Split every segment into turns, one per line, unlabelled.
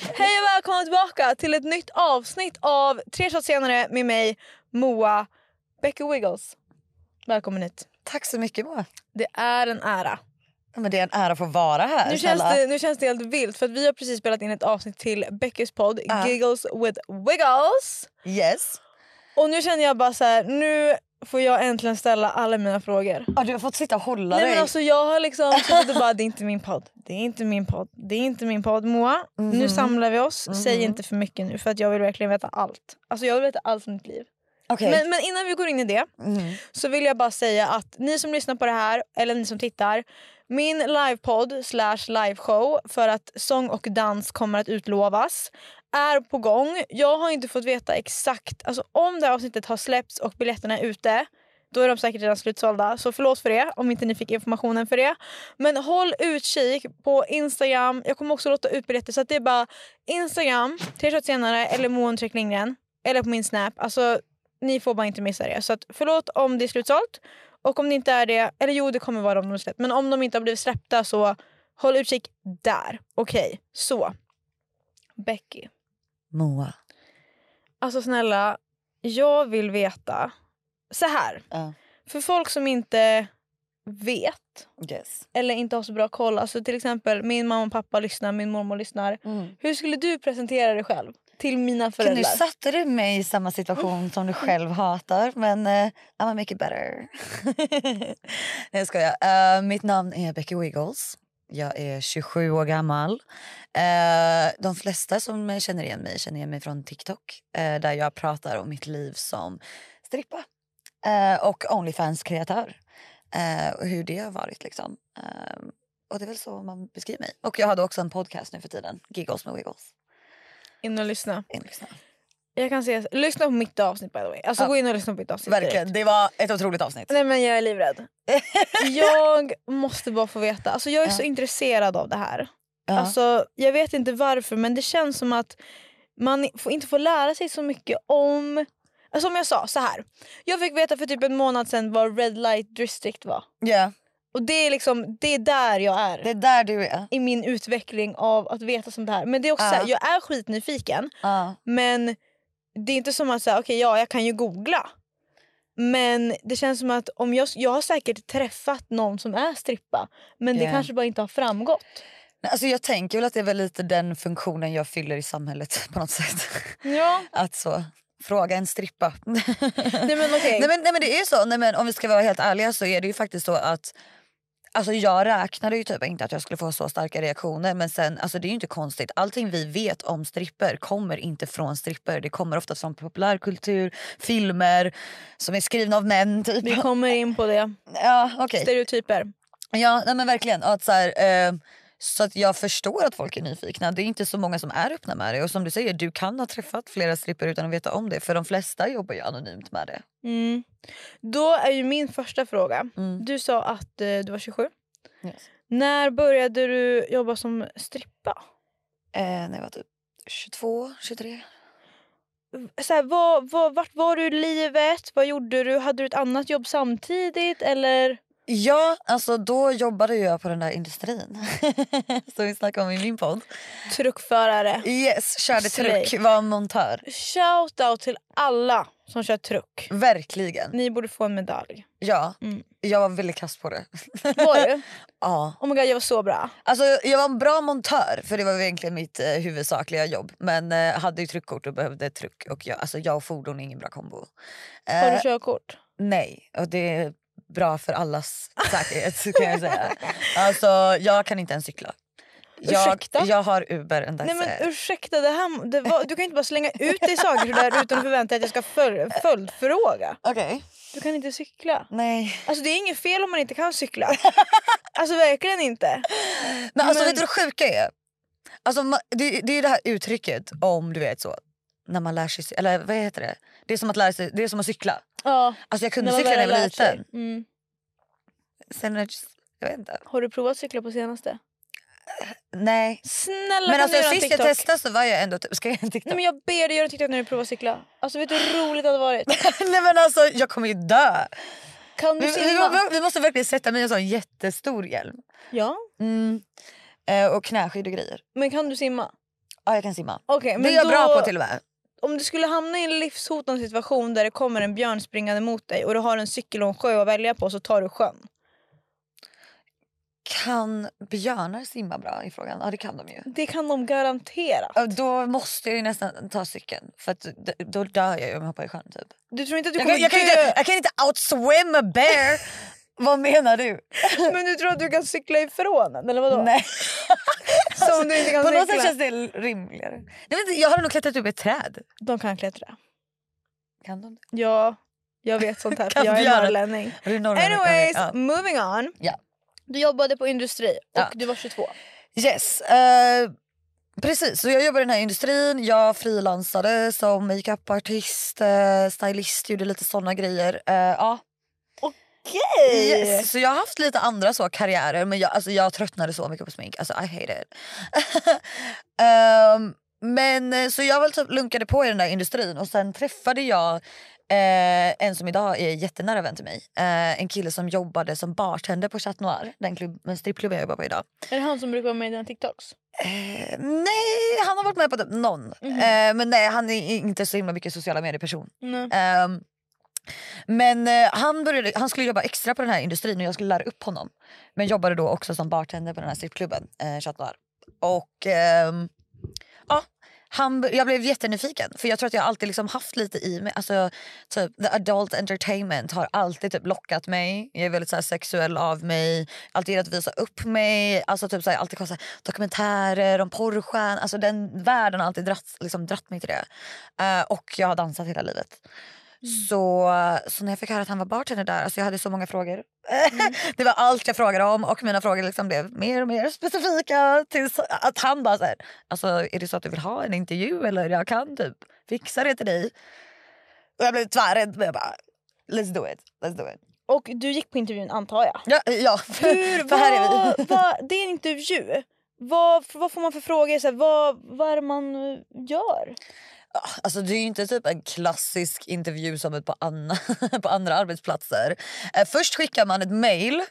Hej och välkomna tillbaka till ett nytt avsnitt av Tre shots senare med mig, Moa Becky Wiggles. Välkommen hit.
Tack så mycket Moa.
Det är en ära.
Ja, men det är en ära att få vara här.
Nu känns,
snälla.
det, nu känns det helt vilt för att vi har precis spelat in ett avsnitt till Beckys podd
Ja.
Giggles with Wiggles.
Yes.
Och nu känner jag bara så här, nu får jag äntligen ställa alla mina frågor.
Ja, du har fått sitta och hålla
Nej
dig.
men alltså jag har liksom suttit och bara det är inte min podd, det är inte min podd, det är inte min podd. Moa,
Mm-hmm.
nu samlar vi oss. Säg inte för mycket nu för att jag vill verkligen veta allt. Alltså jag vill veta allt om ditt liv.
Okej.
Men, men innan vi går in i det
Mm.
så vill jag bara säga att ni som lyssnar på det här eller ni som tittar. Min livepodd slash liveshow för att sång och dans kommer att utlovas är på gång. Jag har inte fått veta exakt, alltså om det här avsnittet har släppts och biljetterna är ute då är de säkert redan slutsålda. Så förlåt för det om inte ni fick informationen för det. Men håll utkik på Instagram. Jag kommer också låta ut biljetter så att det är bara Instagram, tre shots senare eller Moa understreck Lindgren. Eller på min Snap. Alltså ni får bara inte missa det. Så att, förlåt om det är slutsålt. Och om det inte är det, eller jo det kommer vara om de är släppt. Men om de inte har blivit släppta så håll utkik där. Okej, så. Becky.
Moa.
Alltså snälla, jag vill veta. Så här.
Ja.
För folk som inte vet
Yes.
eller inte har så bra koll. Alltså till exempel min mamma och pappa lyssnar, min mormor lyssnar.
Mm.
Hur skulle du presentera dig själv till mina
Gud,
föräldrar?
nu satte du mig i samma situation som du själv hatar, men eh, I'm a make it better. Nej, jag skojar. Eh, mitt namn är Becky Wiggles. Jag är 27 år gammal. Eh, de flesta som känner igen mig känner igen mig från TikTok eh, där jag pratar om mitt liv som strippa eh, och Onlyfans-kreatör. Eh, och hur det har varit. liksom. Eh, och Det är väl så man beskriver mig. Och Jag hade också en podcast nu för tiden, Giggles med Wiggles.
In och lyssna.
In och lyssna.
Jag kan säga, lyssna på mitt avsnitt by the way. Alltså
Ja.
gå in och lyssna på mitt avsnitt direkt.
Verkligen. Det var ett otroligt avsnitt.
Nej men jag är livrädd. jag måste bara få veta. Alltså jag är så
Ja.
intresserad av det här.
Ja.
Alltså, jag vet inte varför men det känns som att man får inte får lära sig så mycket om... Alltså, som jag sa, så här. Jag fick veta för typ en månad sedan vad Red Light District var.
Ja,
Och det är liksom, det är där jag är
Det är där du är.
i min utveckling av att veta sånt här. Men det är också
Ja.
så här, jag är skitnyfiken
Ja.
men det är inte som att säga, okej ja jag kan ju googla. Men det känns som att om jag, jag har säkert träffat någon som är strippa men det
Ja.
kanske bara inte har framgått.
Nej, Alltså jag tänker väl att det är väl lite den funktionen jag fyller i samhället på något sätt.
Ja.
Att så, fråga en strippa.
Nej men okej.
Nej men, nej men det är så, nej men om vi ska vara helt ärliga så är det ju faktiskt så att Alltså jag räknade ju typ inte att jag skulle få så starka reaktioner men sen, alltså det är ju inte konstigt. Allting vi vet om stripper kommer inte från stripper. Det kommer ofta från populärkultur, filmer som är skrivna av män typ.
Vi kommer in på det.
Ja, okej.
Stereotyper.
Ja, nej men verkligen. Och Att så, här, eh, så att jag förstår att folk är nyfikna. Det är inte så många som är öppna med det. Och som du säger, du kan ha träffat flera stripper utan att veta om det. För de flesta jobbar ju anonymt med det.
Mm. Då är ju min första fråga.
Mm.
Du sa att eh, du var 27.
Yes.
När började du jobba som strippa?
Eh, när jag var typ 22, 23.
Så här, vad, vad, vart var du i livet? Vad gjorde du? Hade du ett annat jobb samtidigt? Eller?
Ja, alltså då jobbade jag på den där industrin som vi snackade om i min podd.
Truckförare.
Yes, körde
Slay.
truck, var montör.
Shout out till alla som kör truck.
Verkligen.
Ni borde få en medalj.
Ja,
Mm.
jag var väldigt kass på det.
Var du?
Ja.
Oh my god, jag var så bra.
Alltså, jag var en bra montör, för det var väl egentligen mitt eh, huvudsakliga jobb. Men eh, hade ju tryckkort och behövde tryck. Och jag, alltså, jag och fordon är ingen bra kombo.
Har du
Eh,
körkort?
nej, och det är bra för allas säkerhet kan jag säga. Alltså, jag kan inte ens cykla. Jag,
Ursäkta?
jag har Uber and that's
Nej men
it.
ursäkta, det här, det var, du kan inte bara slänga ut dig saker där utan att förvänta dig att jag ska föl, följdfråga.
Okej.
Du kan inte cykla.
Nej.
Alltså det är inget fel om man inte kan cykla. Alltså verkligen inte.
Men alltså
Men-
vet du vad det sjuka är? Alltså, ma- det, det är det här uttrycket om du vet så. när man lär sig... Eller vad heter det? Det är som att, lära sig, det är som att cykla.
Ja,
Alltså jag
när
kunde
man
cykla när
väl
jag
har
var
lärt sig.
liten.
Mm.
Sen är det just, jag vet inte.
Har du provat cykla på senaste?
Nej.
Snälla kan
Men alltså
du göra en
sist jag
TikTok?
testade så var jag ändå typ... Ska jag göra en TikTok?
Nej, men jag ber dig göra en TikTok när du provar cykla. Alltså vet du hur roligt det hade varit?
Nej men alltså jag kommer ju dö.
Kan
Vi,
du
vi,
simma?
vi måste verkligen sätta mig i en sån jättestor hjälm.
Ja,
Mm. Eh, och knäskydd och grejer.
men kan du simma?
Ja jag kan simma.
Okej,
det
men
är jag
då,
bra på till och med.
Om du skulle hamna i en livshotande situation där det kommer en björn springande mot dig och du har en cykel och en sjö att välja på så tar du sjön.
Kan björnar simma bra i frågan? Ja det kan de ju.
Det kan de garantera.
Ja, Då måste jag ju nästan ta cykeln. För att d- då dör jag ju om jag hoppar i sjön typ.
Du tror inte att du
Jag
kommer
kan, jag, kan
dö,
inte, jag kan inte outswim a bear. Vad menar du?
men du tror att du kan cykla ifrån den? Eller vadå?
Nej.
Som du inte kan
På något
cykla.
sätt känns det rimligare. Nej, men jag hade nog klättrat upp i ett träd.
De kan klättra.
Kan de det?
Ja, jag vet sånt här för
Kan
jag är
björnen.
norrlänning.
Är du norrlänning?
Anyways,
Ja.
moving on.
Ja.
Du jobbade på industri och
Ja.
du var 22.
Yes. eh, precis, så jag jobbade i den här industrin. Jag frilansade som makeupartist, eh, stylist, gjorde lite såna grejer. Eh, ja.
Okej!
yes. Så jag har haft lite andra så karriärer men jag, alltså, jag tröttnade så mycket på smink. Alltså I hate it. Ehm, men eh, så jag väl typ lunkade på i den där industrin och sen träffade jag eh, en som idag är jättenära vän till mig. Eh, en kille som jobbade som bartender på Chat Noir, den klubb, den strippklubben jag jobbar på idag.
Är det han som brukar vara med i dina TikToks?
Eh, nej, han har varit med på typ någon.
Mhm.
Eh, men nej, han är inte så himla mycket sociala medier-person.
Nej.
Ehm, men eh, han, började, han skulle jobba extra på den här industrin och jag skulle lära upp honom. Men jobbade då också som bartender på den här strippklubben, eh, Chat Noir. Och ehm, ja, han, b- jag blev jättenyfiken för jag tror att jag alltid liksom haft lite i mig. Alltså, typ, the adult entertainment har alltid typ lockat mig. Jag är väldigt så här, sexuell av mig, alltid gillat att visa upp mig. Alltså, typ, så här, alltid kollat så här, dokumentärer om porrstjärn. Alltså, den världen har alltid dratt, liksom, dratt mig till det. Eh, och jag har dansat hela livet. Så, så när jag fick höra att han var bartender där, alltså jag hade så många frågor. det var allt jag frågade om och mina frågor liksom blev mer och mer specifika. Tills att han bara såhär, alltså är det så att du vill ha en intervju eller jag kan typ fixa det till dig. Och jag blev tvärrädd men jag bara, let's do it, let's do it.
Och du gick på intervjun antar jag.
Ja, ja.
Hur,
för här är vi.
vad, vad, det är en intervju. Vad, vad får man för frågor? Så här, vad, vad är det man eh, gör?
Ja, Alltså det är ju inte typ en klassisk intervju som ett på, anna, på andra arbetsplatser. Eh, först skickar man ett mejl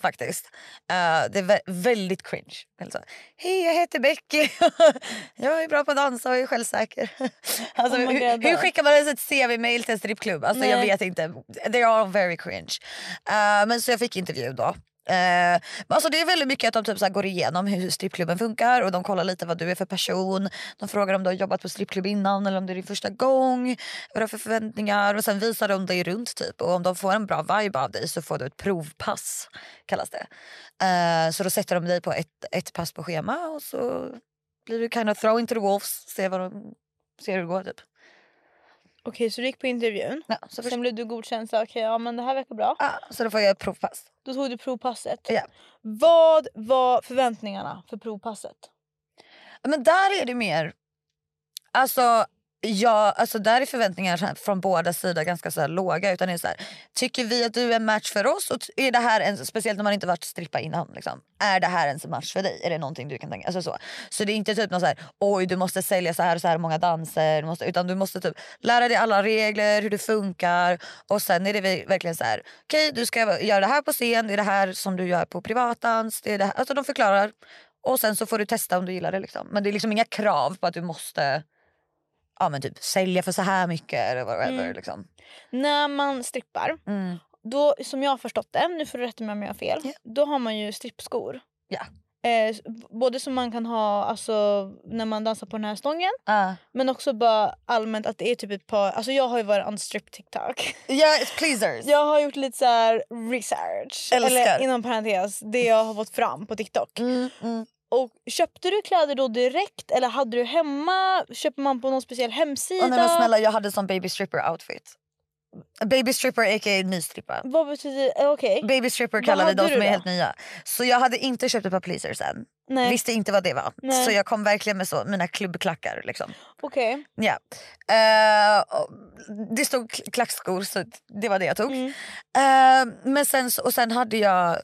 faktiskt. Eh, det är vä- väldigt cringe. Eller så, Hej jag heter Becky. jag är bra på att dansa och är självsäker. alltså,
Oh my
hur,
God.
hur skickar man ens ett CV-mail till en strippklubb? Alltså, jag
Nej.
vet inte. They are very cringe. Eh, men så jag fick intervju då. Eh, men alltså det är väldigt mycket att de typ så här går igenom hur strippklubben funkar och de kollar lite vad du är för person. De frågar om du har jobbat på strippklubb innan eller om det är din första gång. Vad du har för förväntningar och sen visar de dig runt typ och om de får en bra vibe av dig så får du ett provpass kallas det. Eh, så då sätter de dig på ett, ett pass på schema och så blir du kind of throw into the wolves, ser, vad de, ser hur det går typ.
Okej, så du gick på intervjun.
Ja, så, först,
Sen blev du godkänd. Så, okej, ja, men det här verkar bra.
ah, så då får jag ett provpass.
Då tog du provpasset.
Ja.
Vad var förväntningarna för provpasset?
Men där är det mer... Alltså, ja, alltså där är förväntningarna så här från båda sidor ganska så här låga. Utan det är så här, tycker vi att du är en match för oss? Och t- är det här en, speciellt när man inte varit strippa innan. Liksom, är det här ens en match för dig? Är det någonting du kan tänka alltså så. så det är inte typ någon så här, oj du måste sälja så här och så här många danser. Du måste, utan du måste typ lära dig alla regler, hur det funkar. Och sen är det vi- verkligen så här, okej du ska göra det här på scen. Det är det här som du gör på privatdans. Det är det här. Alltså de förklarar. Och sen så får du testa om du gillar det. Liksom. Men det är liksom inga krav på att du måste ja, men typ, sälja för så här mycket eller whatever.
Mm.
Liksom.
När man strippar,
Mm.
då, som jag har förstått det, nu får du rätta mig om jag har fel,
Ja.
då har man ju strippskor.
Ja.
Eh, s- både som man kan ha alltså, när man dansar på den här stången
Ah.
men också bara allmänt att det är typ ett par... Alltså jag har ju varit unstripped TikTok.
Yes, pleasers.
Jag har gjort lite så här research,
Älskar.
eller inom parentes det jag har fått fram på TikTok.
Mm, mm.
Och Köpte du kläder då direkt eller hade du hemma? Köper man på någon speciell hemsida?
Och nej, men snälla, jag hade som baby stripper outfit. Baby stripper aka nystrippa.
Vad betyder... eh, Okej.
Baby stripper
Vad
kallar vi
hade
de
du
som är
då?
helt nya. Så jag hade inte köpt ett par pleasers än.
Nej.
Visste inte vad det var.
Nej.
Så jag kom verkligen med så, mina klubbklackar. Liksom.
Okej.
Ja. Eh, och det stod kl- klackskor så det var det jag tog.
Mm.
Eh, men sen, så- och sen hade jag...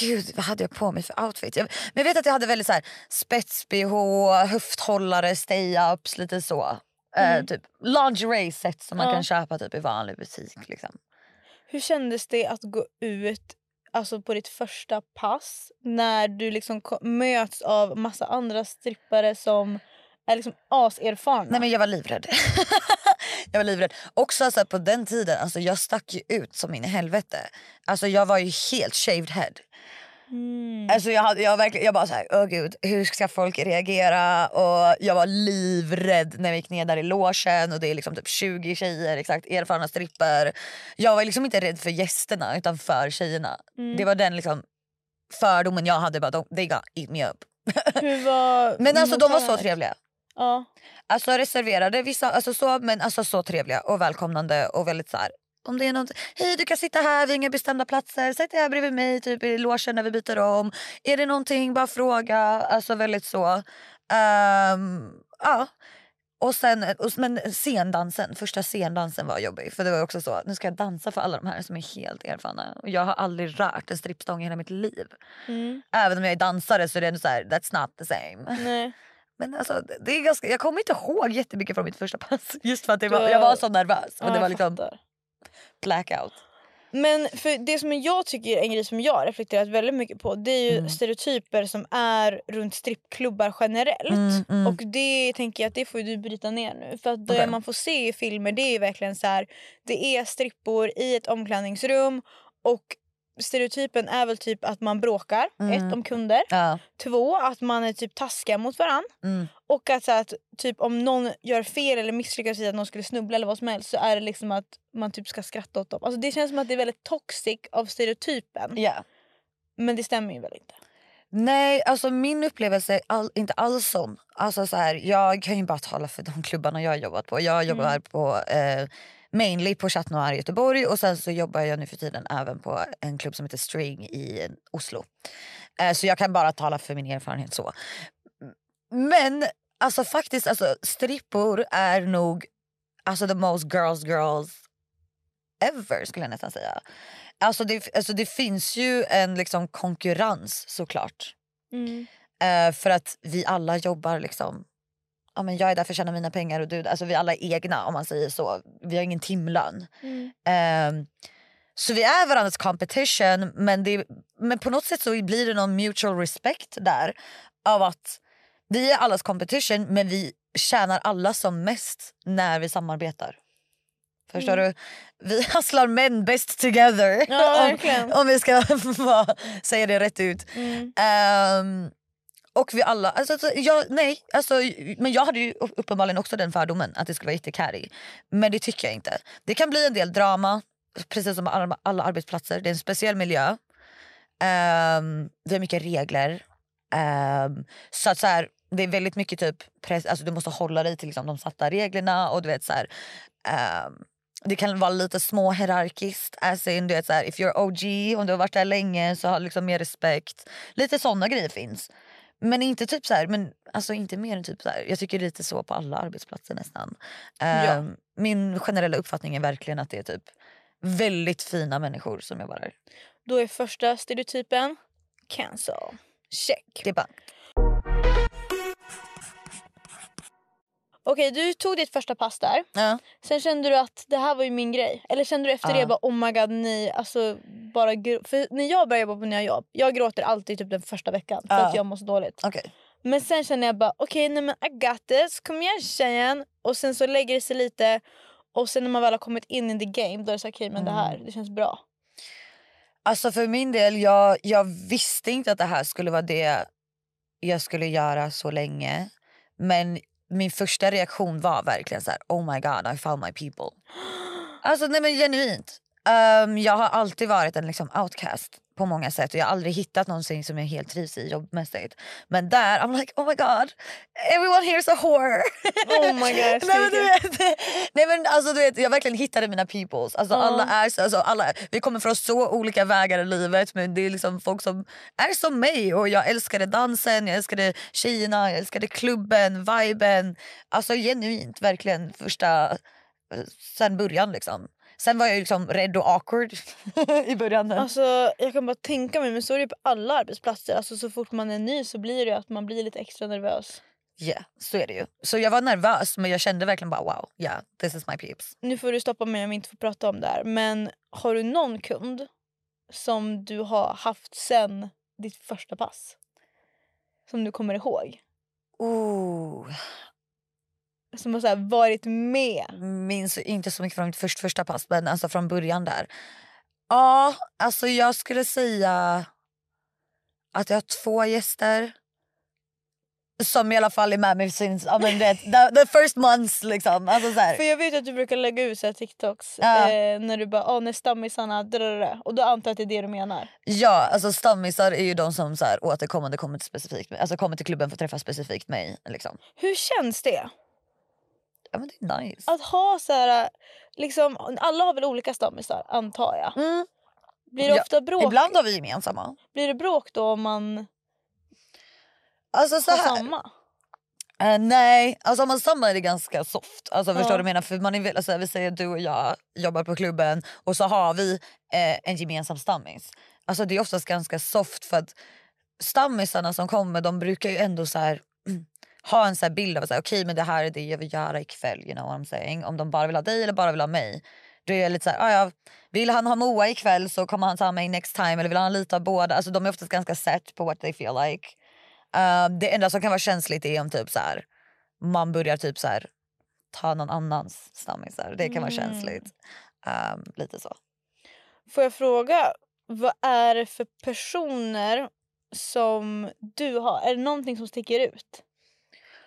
Gud, vad hade jag på mig för outfit? Jag, men jag vet att jag hade väldigt så här, spets-bh, höfthållare, stay-ups, lite så. Eh,
Mm.
typ lingerie-set som man
Ja.
kan köpa typ, i vanlig butik. Liksom.
Hur kändes det att gå ut alltså på ditt första pass när du liksom ko- möts av massa andra strippare som är liksom aserfarna?
Nej men jag var livrädd. jag var livrädd. Också alltså, på den tiden, alltså, jag stack ju ut som in i helvete. Alltså, jag var ju helt shaved head.
mm.
Alltså jag, hade, jag, verkligen, jag bara såhär, åh gud, hur ska folk reagera? Och jag var livrädd när vi gick ner där i logen och det är liksom typ 20 tjejer, exakt, erfarna stripper. Jag var liksom inte rädd för gästerna utan för tjejerna.
Mm.
Det var den liksom fördomen jag hade, bara de, they got eat me up.
Hur var
Men alltså de var så
mottagandet?
trevliga.
Ja.
Alltså reserverade vissa, alltså så, men alltså så trevliga och välkomnande och väldigt så här. Om det är något, hej du kan sitta här, vi har inga bestämda platser, sätt dig här bredvid mig typ i logen när vi byter om. Är det någonting, bara fråga. Alltså väldigt så. Ehm, ja. Och sen, och, men scendansen, första scendansen var jobbig. För det var också så, nu ska jag dansa för alla de här som är helt erfarna. Och jag har aldrig rört en strippstång i hela mitt liv.
Mm.
Även om jag är dansare så är det ändå så här, that's not the same.
Nej.
Men alltså, det är ganska, jag kommer inte ihåg jättemycket från mitt första pass. Just för att det
Du-
var, jag var så nervös.
Ja,
Men det var
jag
liksom
fattar.
blackout.
Men för det som jag tycker är en grej som jag har reflekterat väldigt mycket på det är ju
Mm.
stereotyper som är runt strippklubbar generellt.
Mm, mm.
Och det tänker jag att det får ju du bryta ner nu. För att det
Okej.
man får se i filmer det är ju verkligen så här. Det är strippor i ett omklädningsrum och stereotypen är väl typ att man bråkar.
Mm.
Ett, om kunder.
Ja.
Två, att man är typ taskiga mot varann.
Mm.
Och att, så här, att typ om någon gör fel eller misslyckas i att någon skulle snubbla eller vad som helst så är det liksom att man typ ska skratta åt dem. Alltså det känns som att det är väldigt toxic av stereotypen.
ja.
Men det stämmer ju väl inte.
Nej, alltså min upplevelse är all, inte alls sån. Alltså så här, jag kan ju bara tala för de klubbarna jag har jobbat på. Jag jobbar på eh, mainly på Chat Noir i Göteborg och sen så jobbar jag nu för tiden även på en klubb som heter String i Oslo. Eh, så jag kan bara tala för min erfarenhet så. Men alltså faktiskt, alltså, strippor är nog alltså, the most girls girls ever skulle jag nästan säga. Alltså det, alltså det finns ju en liksom konkurrens såklart.
Mm.
Eh, för att vi alla jobbar liksom. Ja, men jag är där för att tjäna mina pengar och du alltså vi alla är egna om man säger så. Vi har ingen timlön.
Mm.
Ehm, så vi är varandras competition men, det, men på något sätt så blir det någon mutual respect där. Av att vi är allas competition men vi tjänar alla som mest när vi samarbetar. Förstår du? Vi hustlar men best together.
Mm. Ja,
Om-
verkligen.
om vi ska vara- säga det rätt ut.
Mm.
Ehm, och vi alla, alltså, alltså, jag, nej, alltså, men jag hade ju upp- uppenbarligen också den fördomen att det skulle vara jättecarry. Men det tycker jag inte. Det kan bli en del drama, precis som alla, alla arbetsplatser. Det är en speciell miljö. Ehm, det är mycket regler. Ehm, så att så här, det är väldigt mycket typ press, alltså du måste hålla dig till liksom, de satta reglerna och du vet så här, ehm, det kan vara lite små hierarkiskt. As in, du vet, så här, if you're OG, om du har varit där länge så har du liksom mer respekt. Lite såna grejer finns. Men inte typ så här, men alltså inte mer än typ så här. Jag tycker lite så på alla arbetsplatser nästan.
Ja.
Ehm, Min generella uppfattning är verkligen att det är typ väldigt fina människor som jobbar där.
Då är första stereotypen cancel. Check.
Det är bara,
Okej, du tog ditt första pass där.
ja.
Sen kände du att det här var ju min grej. Eller kände du efter
Ja.
det bara oh my god nej, alltså bara gr- För när jag börjar jobba på nya jobb, jag gråter alltid typ den första veckan för
Ja.
att jag mår så dåligt.
Okej.
Men sen känner jag bara okej nej men I got this, kom igen tjejen. Och sen så lägger det sig lite och sen när man väl har kommit in i the game då är det så okej men det
Mm.
här, det känns bra.
Alltså för min del, jag, jag visste inte att det här skulle vara det jag skulle göra så länge. Men min första reaktion var verkligen så här, oh my god I found my people. Alltså nej men genuint. Ehm, jag har alltid varit en liksom outcast på många sätt. Och jag har aldrig hittat någonting som jag helt trivs i jobbmässigt. Men där, I'm like oh my god, everyone here is a whore.
Oh my god.
Nej men, du vet, nej men alltså du vet, jag verkligen hittade mina peoples. Alltså,
Ja.
alla är så, alltså, alla, vi kommer från så olika vägar i livet men det är liksom folk som är som mig och jag älskade dansen, jag älskade tjejerna, jag älskade klubben, viben. Alltså genuint verkligen första, eh, sen början liksom. Sen var jag ju liksom rädd och awkward i början. där.
Alltså, jag kan bara tänka mig, men så är det på alla arbetsplatser. Alltså, så fort man är ny så blir det ju att man blir lite extra nervös.
Ja, så är det ju. Så jag var nervös men jag kände verkligen bara wow, yeah, this is my peeps.
Nu får du stoppa mig om vi inte får prata om det här. Men har du någon kund som du har haft sen ditt första pass? Som du kommer ihåg?
Ooh.
Som har så här varit med?
minns inte så mycket från mitt först, första pass, men alltså från början där. Ja, alltså jag skulle säga att jag har två gäster som i alla fall är med mig since, ja, men du vet, the, the first months liksom. Alltså så här.
För jag vet att du brukar lägga ut så här TikToks
Ja.
eh, när du bara “åh, när stammisarna...” drrrr." Och då antar jag att det är det du menar.
Ja, alltså stammisar är ju de som så här, återkommande kommer till, specifikt, alltså kommer till klubben för att träffa specifikt mig. Liksom.
Hur känns det?
Ja, men det är nice.
Att ha så här, liksom, alla har väl olika stammisar antar jag.
Mm.
Blir det
Ja,
ofta bråk?
Ibland har vi gemensamma.
Blir det bråk då om man
Alltså så
har
här.
samma?
Eh, nej, alltså om man samlar är det ganska soft. Alltså, förstår
Ja.
du vad jag menar? För man är, väl- alltså, vi säger att du och jag jobbar på klubben och så har vi eh, en gemensam stammis. Alltså, det är oftast ganska soft för att stammisarna som kommer de brukar ju ändå så här, ha en så här bild av att okay, men det här är det jag vill göra ikväll. You know what I'm saying? Om de bara vill ha dig eller bara vill ha mig. Då är jag lite så här, "Ah, ja, vill han ha Moa ikväll så kommer han ta mig next time. Eller vill han lite av båda? Alltså, de är oftast ganska set på what they feel like. Ehm, det enda som kan vara känsligt är om typ så här, man börjar typ så här, ta någon annans stammisar. Det kan vara
Mm.
känsligt. Ehm, lite så.
Får jag fråga, vad är det för personer som du har? Är det någonting som sticker ut?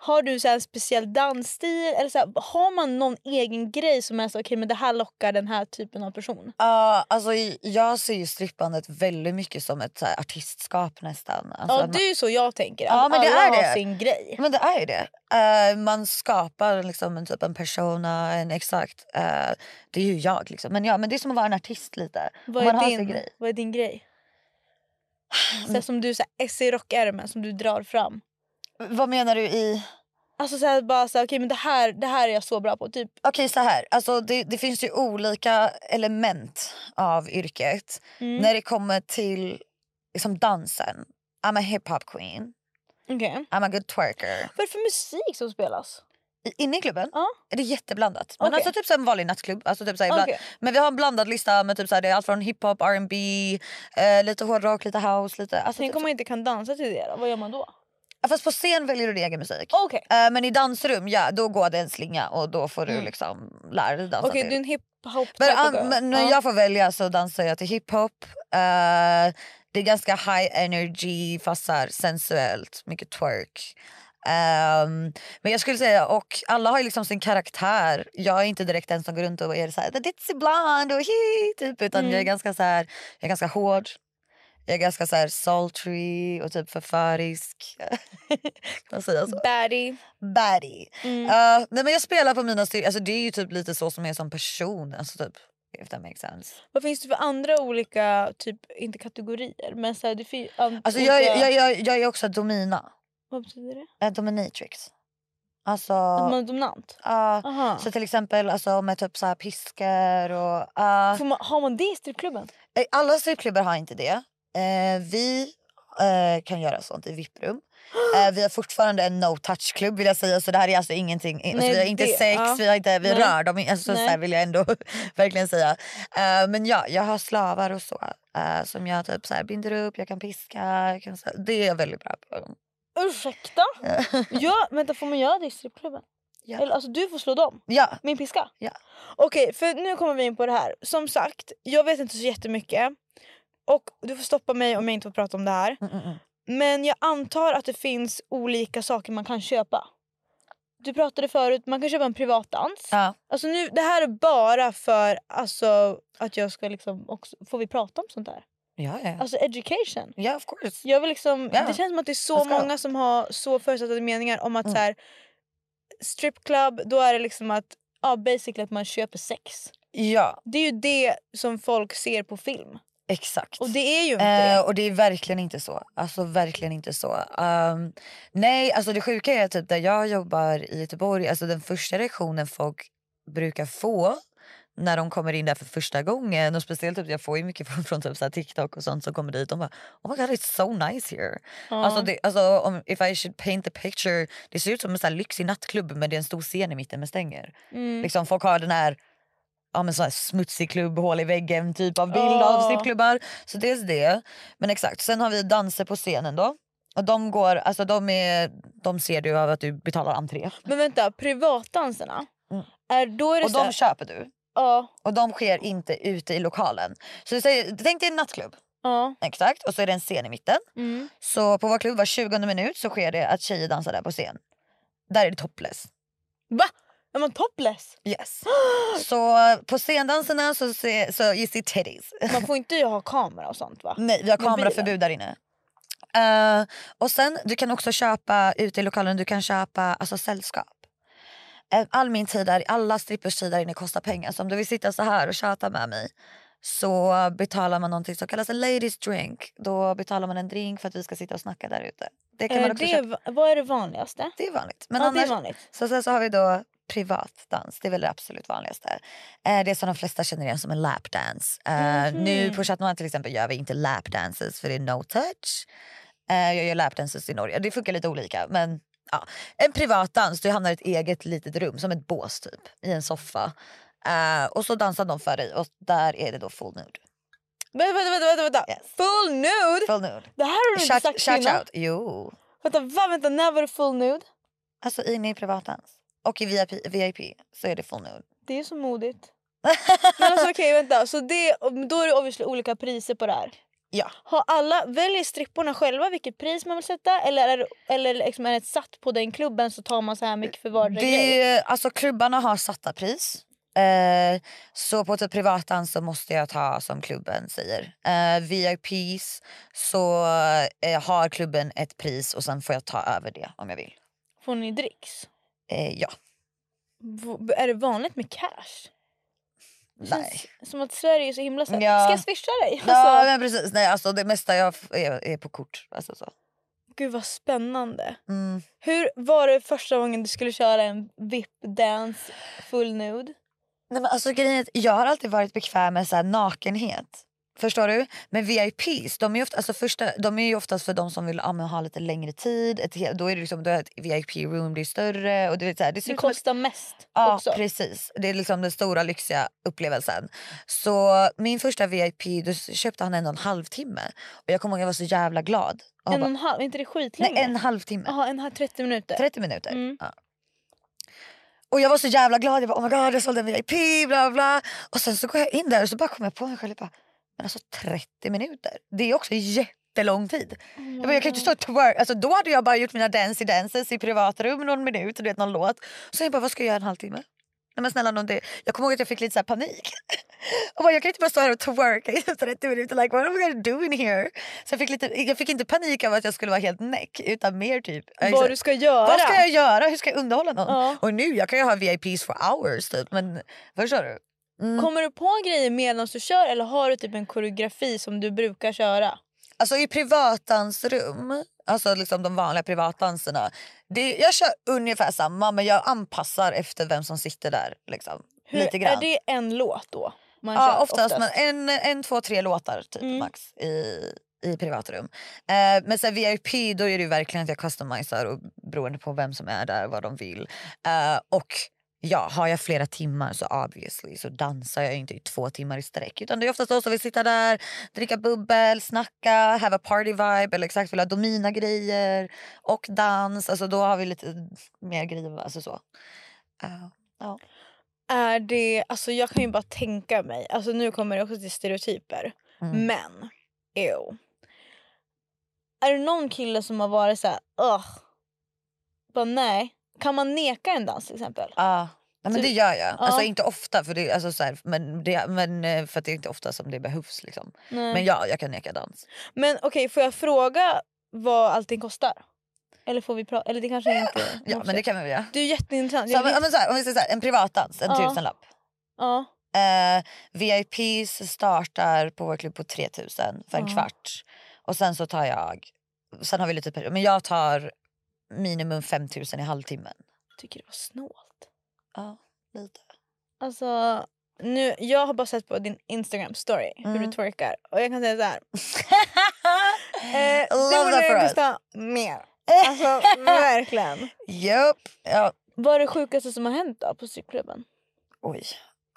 Har du så här en speciell dansstil? Eller så här, har man någon egen grej som är så okej men det här lockar den här typen av person?
Ja, alltså, i- jag ser ju strippandet väldigt mycket som ett så här, artistskap nästan. Alltså,
ja
att
det är ju så jag tänker.
Ja,
Att
men det
alla
är
har
det.
sin grej.
Men det är ju det. Eh, man skapar liksom en typ en persona, en exakt. eh, det är ju jag liksom. Men, ja, men det är som att vara en artist lite.
Vad
man
är,
har sin
din,
grej.
vad är din grej? Så här, som du så här, S i rockärmen som du drar fram.
Vad menar du i...
Alltså så här, bara så här, okej men det här, det här är jag så bra på. Typ
Okej så här, alltså det, det finns ju olika element av yrket.
Mm.
När det kommer till liksom dansen. I'm a hiphop queen.
Okej.
I'm a good twerker.
Vad är det för musik som spelas?
I- Inne i klubben
Ja.
är det jätteblandat. Men
Okej.
alltså typ som en vanlig nattklubb. Alltså typ så här, ibland,
Okej.
Men vi har en blandad lista med typ så här, det är allt från hiphop, R&B, eh, lite hårdrock, lite house, lite... Alltså typ Alltså,
Tänk om man inte kan dansa till det då? Vad gör man då?
Ja, Fast på scen väljer du din egen musik.
Okej,
Eh, men i dansrum, ja, då går det en slinga och då får du
Mm.
liksom lära dig dansa
okej
till.
du är en hiphop
Men,
type of
an-
girl.
men när
Ja.
jag får välja så dansar jag till hiphop. Eh, det är ganska high energy, fast så här, sensuellt, mycket twerk. Ehm, men jag skulle säga, och alla har ju liksom sin karaktär. Jag är inte direkt den som går runt och är så här, the ditzy blonde och hi, typ. Utan
Mm.
jag är ganska så här, jag är ganska hård. Jag är ganska så här sultry och typ förförisk. kan man säga så?
Baddie.
Baddie.
Mm.
Ja, Eh, nej men jag spelar på mina styrkor. Alltså det är ju typ lite så som jag är som person. Alltså typ, if that makes sense.
Vad finns det för andra olika, typ inte kategorier men så här, det finns an-
Alltså
olika...
jag, jag, jag, jag är också domina.
Vad betyder det?
Eh, dominatrix. Alltså...
Att man är dominant?
ja,
Aha.
så till exempel alltså, med typ så här piskor och... ja.
Får man, har man det i strippklubben?
Eh, Alla strippklubbar har inte det. Eh, vi eh, kan göra sånt i VIP-rum. Eh, vi har fortfarande en no-touch-klubb vill jag säga. Så det här är alltså ingenting. eh,
Nej,
alltså, vi har inte
det-
sex,
ja.
vi, har inte, vi
Nej.
rör dem. i- Alltså, så
Nej.
här vill jag ändå verkligen säga. Eh, men ja, jag har slavar och så. Eh, som jag typ så här binder upp, jag kan piska. Jag kan, så här, det är jag väldigt bra på.
Ursäkta? ja, vänta, får man göra det i strippklubben?
Ja.
Eller, alltså, du får slå dem.
ja,
Min piska?
Ja.
Okej, för nu kommer vi in på det här. Som sagt, jag vet inte så jättemycket. Och du får stoppa mig om jag inte får prata om det här.
mm, mm, mm.
Men jag antar att det finns olika saker man kan köpa. Du pratade förut, man kan köpa en privatdans.
ja.
Alltså nu, det här är bara för alltså, att jag ska liksom också... Får vi prata om sånt här?
Ja, ja.
Alltså education.
ja of course.
Jag vill liksom,
Ja.
Det känns som att det är så
Let's go.
många som har så förutsättade meningar om att
Mm.
så här, stripclub, då är det liksom att ja, basically att man köper sex.
Ja,
Det är ju det som folk ser på film.
exakt.
Och det är ju inte
Eh,
det.
och det är verkligen inte så. Alltså verkligen inte så. Ehm, nej, alltså det sjuka är typ där jag jobbar i Göteborg, alltså den första reaktionen folk brukar få när de kommer in där för första gången och speciellt typ jag får ju mycket från, från typ så här TikTok och sånt som kommer dit. De bara oh my god it's so nice here.
Ja.
Alltså, det, alltså om, if I should paint the picture, det ser ut som en så här lyxig nattklubb men det är en stor scen i mitten med stänger.
mm.
Liksom, folk har den här, ja, men sån här smutsig klubb, hål i väggen typ av bild av
Ja.
strippklubbar. Så dels det. Men exakt, sen har vi danser på scenen då. Och de går, alltså de, är, de ser du av att du betalar entré.
Men vänta, privatdanserna?
Mm.
Är, då är det
Och
så här,
de köper du.
ja,
Och de sker inte ute i lokalen. Så du säger, tänk dig en nattklubb.
ja,
Exakt. Och så är det en scen i mitten.
mm.
Så på vår klubb var 20 minut så sker det att tjejer dansar där på scen. Där är det topless.
Va? Är man topless?
Yes. Så på scendanserna så, se, så is it titties.
Man får inte ha kamera och sånt va?
Nej, vi har
Mobilen.
kameraförbud där inne. Eh, och sen, du kan också köpa ute i lokalen, du kan köpa alltså, sällskap. Eh, All min tid där, alla strippers tid där inne kostar pengar. Så om du vill sitta så här och tjata med mig så betalar man någonting som kallas en ladies drink. Då betalar man en drink för att vi ska sitta och snacka där ute. Det kan man
Är
också
Eh, det,
köpa.
va- vad är det vanligaste?
Det är vanligt. Men
ja,
annars,
det är vanligt.
Så sen så har vi då privatdans, det är väl det absolut vanligaste. Eh, det är som de flesta känner igen som en lapdance. Eh,
Mhm.
Nu på Chat Noir till exempel gör vi inte lapdances för det är no touch. Eh, jag gör lapdances i Norge, det funkar lite olika. Men ja. En privatdans, du hamnar i ett eget litet rum som ett bås typ i en soffa. Eh, och så dansar de för dig och där är det då full nude.
Vänta, vänta, vänta, vänta, vänta.
Yes.
Full nude?
Full nude.
Det här har du inte
Shout,
sagt
shout
innan.
out. Jo.
Vänta, va? Vänta, när var det full nude?
Alltså inne i privatdans. Och i VIP, VIP så är det full nude.
Det är så modigt. Men alltså okej, vänta. Så det, då är det obviously olika priser på det här.
Ja.
Har alla, väljer stripporna själva vilket pris man vill sätta eller är, eller liksom är det satt på den klubben så tar man så här mycket för vardera grej?
Det, alltså klubbarna har satta pris. Eh, så på typ privatdans så måste jag ta som klubben säger. Eh, VIPs så eh, har klubben ett pris och sen får jag ta över det om jag vill.
Får ni dricks?
Eh, ja.
V- Är det vanligt med cash? Det känns
Nej.
Som att Sverige är så himla såhär,
Ja.
ska jag swisha dig?
Ja
Alltså,
men precis, nej alltså det mesta jag f- är, är på kort. Alltså så.
Gud vad spännande.
Mm.
Hur var det första gången du skulle köra en VIP-dance full nude?
Nej, men alltså, grejen är att jag har alltid varit bekväm med så här, nakenhet. Förstår du? Men VIPs, de är ju, ofta, alltså första, de är ju oftast för de som vill ja, men, ha lite längre tid. Ett, he- då är det liksom, då är ett VIP-room, det är större. Och det, är så här, det
Det
ser coolt-
kostar mest
Ja,
också.
precis. Det är liksom den stora lyxiga upplevelsen. Så min första VIP, då köpte han en och en halvtimme. Och jag kommer ihåg jag var så jävla glad. Och han
En och
bara,
en halv, inte det skitlänge?
nej, en halvtimme.
Jaha, en halv 30 minuter.
30 minuter.
Mm.
Ja. Och jag var så jävla glad. Jag bara, oh my god, jag sålde en VIP, bla bla. Och sen så går jag in där och så bara kommer jag på mig själv. jag Bara, men alltså 30 minuter, det är också jättelång tid. Jag, bara, jag kan ju inte stå och twerk. Alltså, då hade jag bara gjort mina dancey dances i privatrum någon minut, du vet någon låt. Så jag bara, vad ska jag göra en halvtimme? Nej men snälla någon, det... Jag kommer ihåg att jag fick lite så här panik. Och bara, jag kan inte bara stå här och twerka i 30 minuter. Like, what am I gonna do in here? Så jag fick, lite, jag fick inte panik av att jag skulle vara helt näck utan mer typ...
Vad du ska göra?
Vad ska jag göra? Hur ska jag underhålla någon?
Ja.
Och nu, jag kan ju ha VIPs for hours typ. Men förstår du? Mm.
Kommer du på grejer medan du kör eller har du typ en koreografi som du brukar köra?
Alltså i privatdansrum, alltså liksom de vanliga privatdanserna. Det, jag kör ungefär samma men jag anpassar efter vem som sitter där. Liksom.
Hur,
Lite grann.
Är det en låt då? Man
ja, oftast, Men en, en, två, tre låtar typ
Mm.
max i, i privatrum. Eh, men sen VIP då är det ju verkligen att jag customisar och beroende på vem som är där, vad de vill. Eh, och ja, har jag flera timmar så obviously så dansar jag ju inte i två timmar i sträck. Utan det är oftast de som vill sitta där, dricka bubbel, snacka, have a party vibe eller exakt vill ha domina grejer och dans. Alltså då har vi lite mer grejer, alltså så. Eh,
Är det, alltså jag kan ju bara tänka mig, alltså nu kommer det också till stereotyper.
mm.
Men, ew. Är det någon kille som har varit så här, ugh. Bara nej. Kan man neka en dans till exempel?
Ah, Ja, men
Typ.
det gör jag. Alltså
Ja.
inte ofta för det, alltså, så här, men det, men eh, för att det är inte ofta som det behövs liksom.
Nej.
Men ja, jag kan neka dans.
Men okej, får jag fråga vad allting kostar? Eller får vi prata? Eller det kanske inte...
Ja, men det kan vi väl göra.
Mm, Det är jätteintressant.
Så,
Jag vet-
men, ja, men, så här, om vi säger så här, en privatdans, en
Ja.
tusenlapp.
ja.
Eh, VIPs startar på vår klubb på 3000 för en
Ja.
kvart. Och sen så tar jag, sen har vi lite per- men jag tar minimum 5000 i halvtimmen.
Tycker det var snålt.
Ja,
Eh,
lite.
Alltså, nu, jag har bara sett på din Instagram story hur
Mm.
du twerkar. Och jag kan säga så här. Eh, det
Love that
borde
for
jag
us.
kosta mer. Alltså verkligen.
Japp. Ja.
Vad är det sjukaste som har hänt då på stripklubben?
Oj.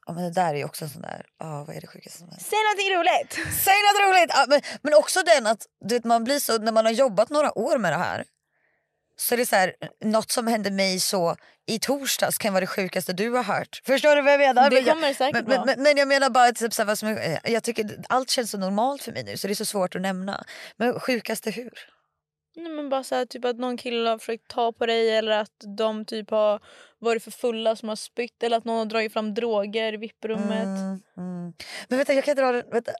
Ja, men det där är ju också en sån där, ja vad är det sjukaste som händer?
Säg någonting roligt!
Säg något roligt! Ja, men, men också den att du vet, man blir så, när man har jobbat några år med det här så är det så här, något som hände mig så i torsdags kan vara det sjukaste du har hört. Förstår du vad jag menar?
Det
Men jag-
kommer det säkert
men,
vara.
men, men, men jag menar bara typ, så här, vad som, är- jag tycker allt känns så normalt för mig nu så det är så svårt att nämna. Men sjukaste hur?
Nej, men bara så här, typ att någon kille har försökt ta på dig eller att de typ har varit för fulla som har spytt eller att någon har dragit fram droger i VIP-rummet.
Mm, mm. Men vänta jag kan dra den. Vänta.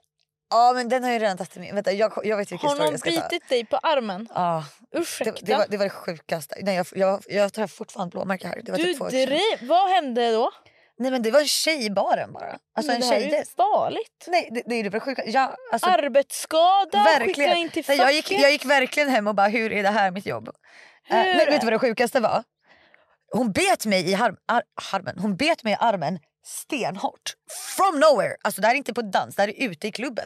Ja men den har jag redan tagit till mig. Vänta jag, jag vet vilken
Har
historia
någon
jag ska ta.
bitit dig på armen?
Ja,
Ursäkta.
det, det, var, det var det sjukaste. Nej, jag, jag, jag tar fortfarande blåmärke här. Det var
du
typ två år sedan.
driv... Vad hände då?
Nej men det var en tjej i baren bara. Alltså
Men
en
det här är ju
tjejdejt.
farligt.
Nej det, det är ju det sjuka. Jag, alltså,
Arbetsskada, skicka
verkligen.
in till
Nej,
facket.
jag, gick, jag gick verkligen hem och bara hur är det här mitt jobb? Eh, nej,
Hur?
vet du vad det sjukaste var? Hon bet mig i arm, ar, armen. Hon bet mig i armen stenhårt. From nowhere. Alltså det här är inte på dans, det här är ute i klubben.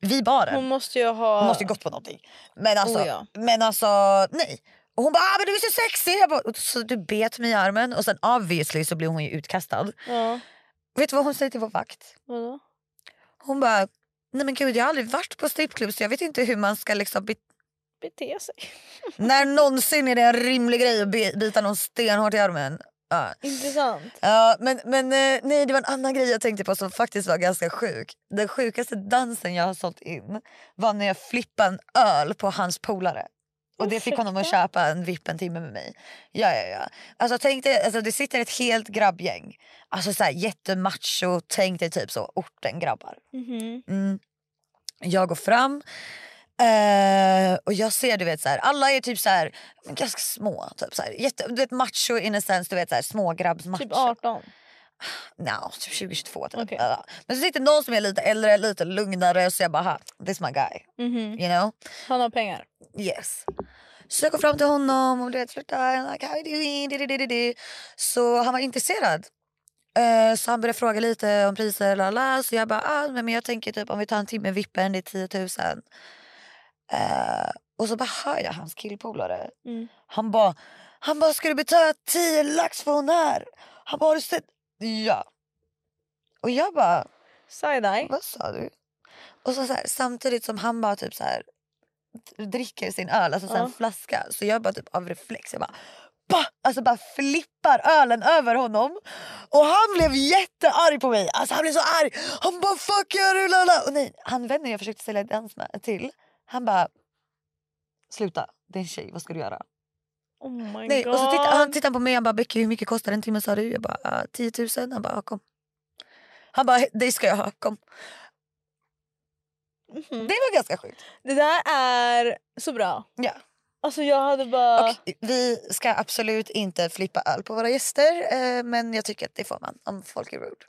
Vid baren.
Hon måste ju ha...
Hon måste ju gått på någonting. Men alltså,
Oh, ja.
men alltså nej. Och hon bara ah, men du är så sexig. Jag bara, "Och Så du bet mig i armen och sen obviously så blev hon ju utkastad.
Ja,
Vet du vad hon säger till vår vakt?
vadå?
Hon bara nej men gud jag har aldrig varit på strippklubb så jag vet inte hur man ska liksom bete
Bete sig.
När någonsin är det en rimlig grej att bi- bita någon stenhårt i armen. Ja.
Intressant.
Ja, men, men eh, nej, det var en annan grej jag tänkte på som faktiskt var ganska sjuk. Den sjukaste dansen jag har sålt in var när jag flippade en öl på hans polare. Och det fick honom att
Ursäkta?
köpa en vipp en timme med mig. Ja, ja, ja. Alltså tänk dig, alltså, det sitter ett helt grabbgäng. Alltså så här jättemacho, tänk dig typ så orten-grabbar.
Mhm.
Mm. Jag går fram eh, och jag ser du vet så här, alla är typ så här men ganska små typ så här, jätte, du vet macho in a sense, du vet så här smågrabbsmacho.
Typ 18.
Nja, typ 2022 typ.
Okej.
Ja. Men så sitter någon som är lite äldre, lite lugnare så jag bara "Ha, this my guy,
Mhm.
you know?
Han har pengar.
Yes. Så jag går fram till honom och du vet flörtar, like, how you doing? Di, di, di, di, di. Så han var intresserad. Eh, Så han började fråga lite om priser la, la. så jag bara ah, men men jag tänker typ om vi tar en timme vippen det är 10 000. Eh, och så bara hör jag hans killpolare.
Mm.
Han bara han bara ska du betala 10 lax för hon här? Han bara har du sett? Ja. Och jag bara
Side-eye.
vad sa du? Och så, så här, samtidigt som han bara typ så här dricker sin öl, alltså så här
Ja.
en flaska. Så jag bara typ av reflex, jag bara bah! Alltså bara flippar ölen över honom. Och han blev jättearg på mig. Alltså han blev så arg. Han bara fuck you lala. Och nej, han vänder jag försökte sälja dans med, till. Han bara sluta, det är en tjej, vad ska du göra?
Oh my
Nej,
god.
och så tittar han tittar på mig han bara Becky hur mycket kostar en timme sa du? Jag bara "Ah, 10 000. Han bara "Ja, kom. Han bara det ska jag ha, kom.
Mhm.
Det var ganska sjukt.
Det där är så bra.
Ja.
Alltså jag hade bara...
Och vi ska absolut inte flippa öl på våra gäster eh, men jag tycker att det får man om folk är rude.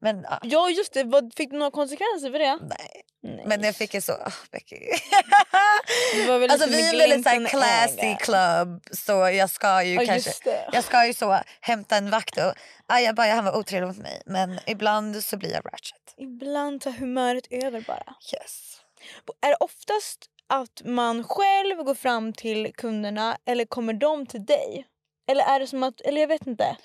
Men, ja.
Ja just det, vad, fick du några konsekvenser för det?
Nej.
Nej.
Men jag fick ju så... ah, Becky.
Det var väl
alltså,
lite
vi är
med
en väldigt så här,
glimten i
classy
ögat.
club, så jag ska ju
Ja,
kanske...
just det.
Jag ska ju så hämta en vakt och ajabaja han var otrevlig mot mig. Men ibland så blir jag ratchet.
Ibland tar humöret över bara.
Yes.
Är det oftast att man själv går fram till kunderna eller kommer de till dig? Eller är det som att, eller jag vet inte.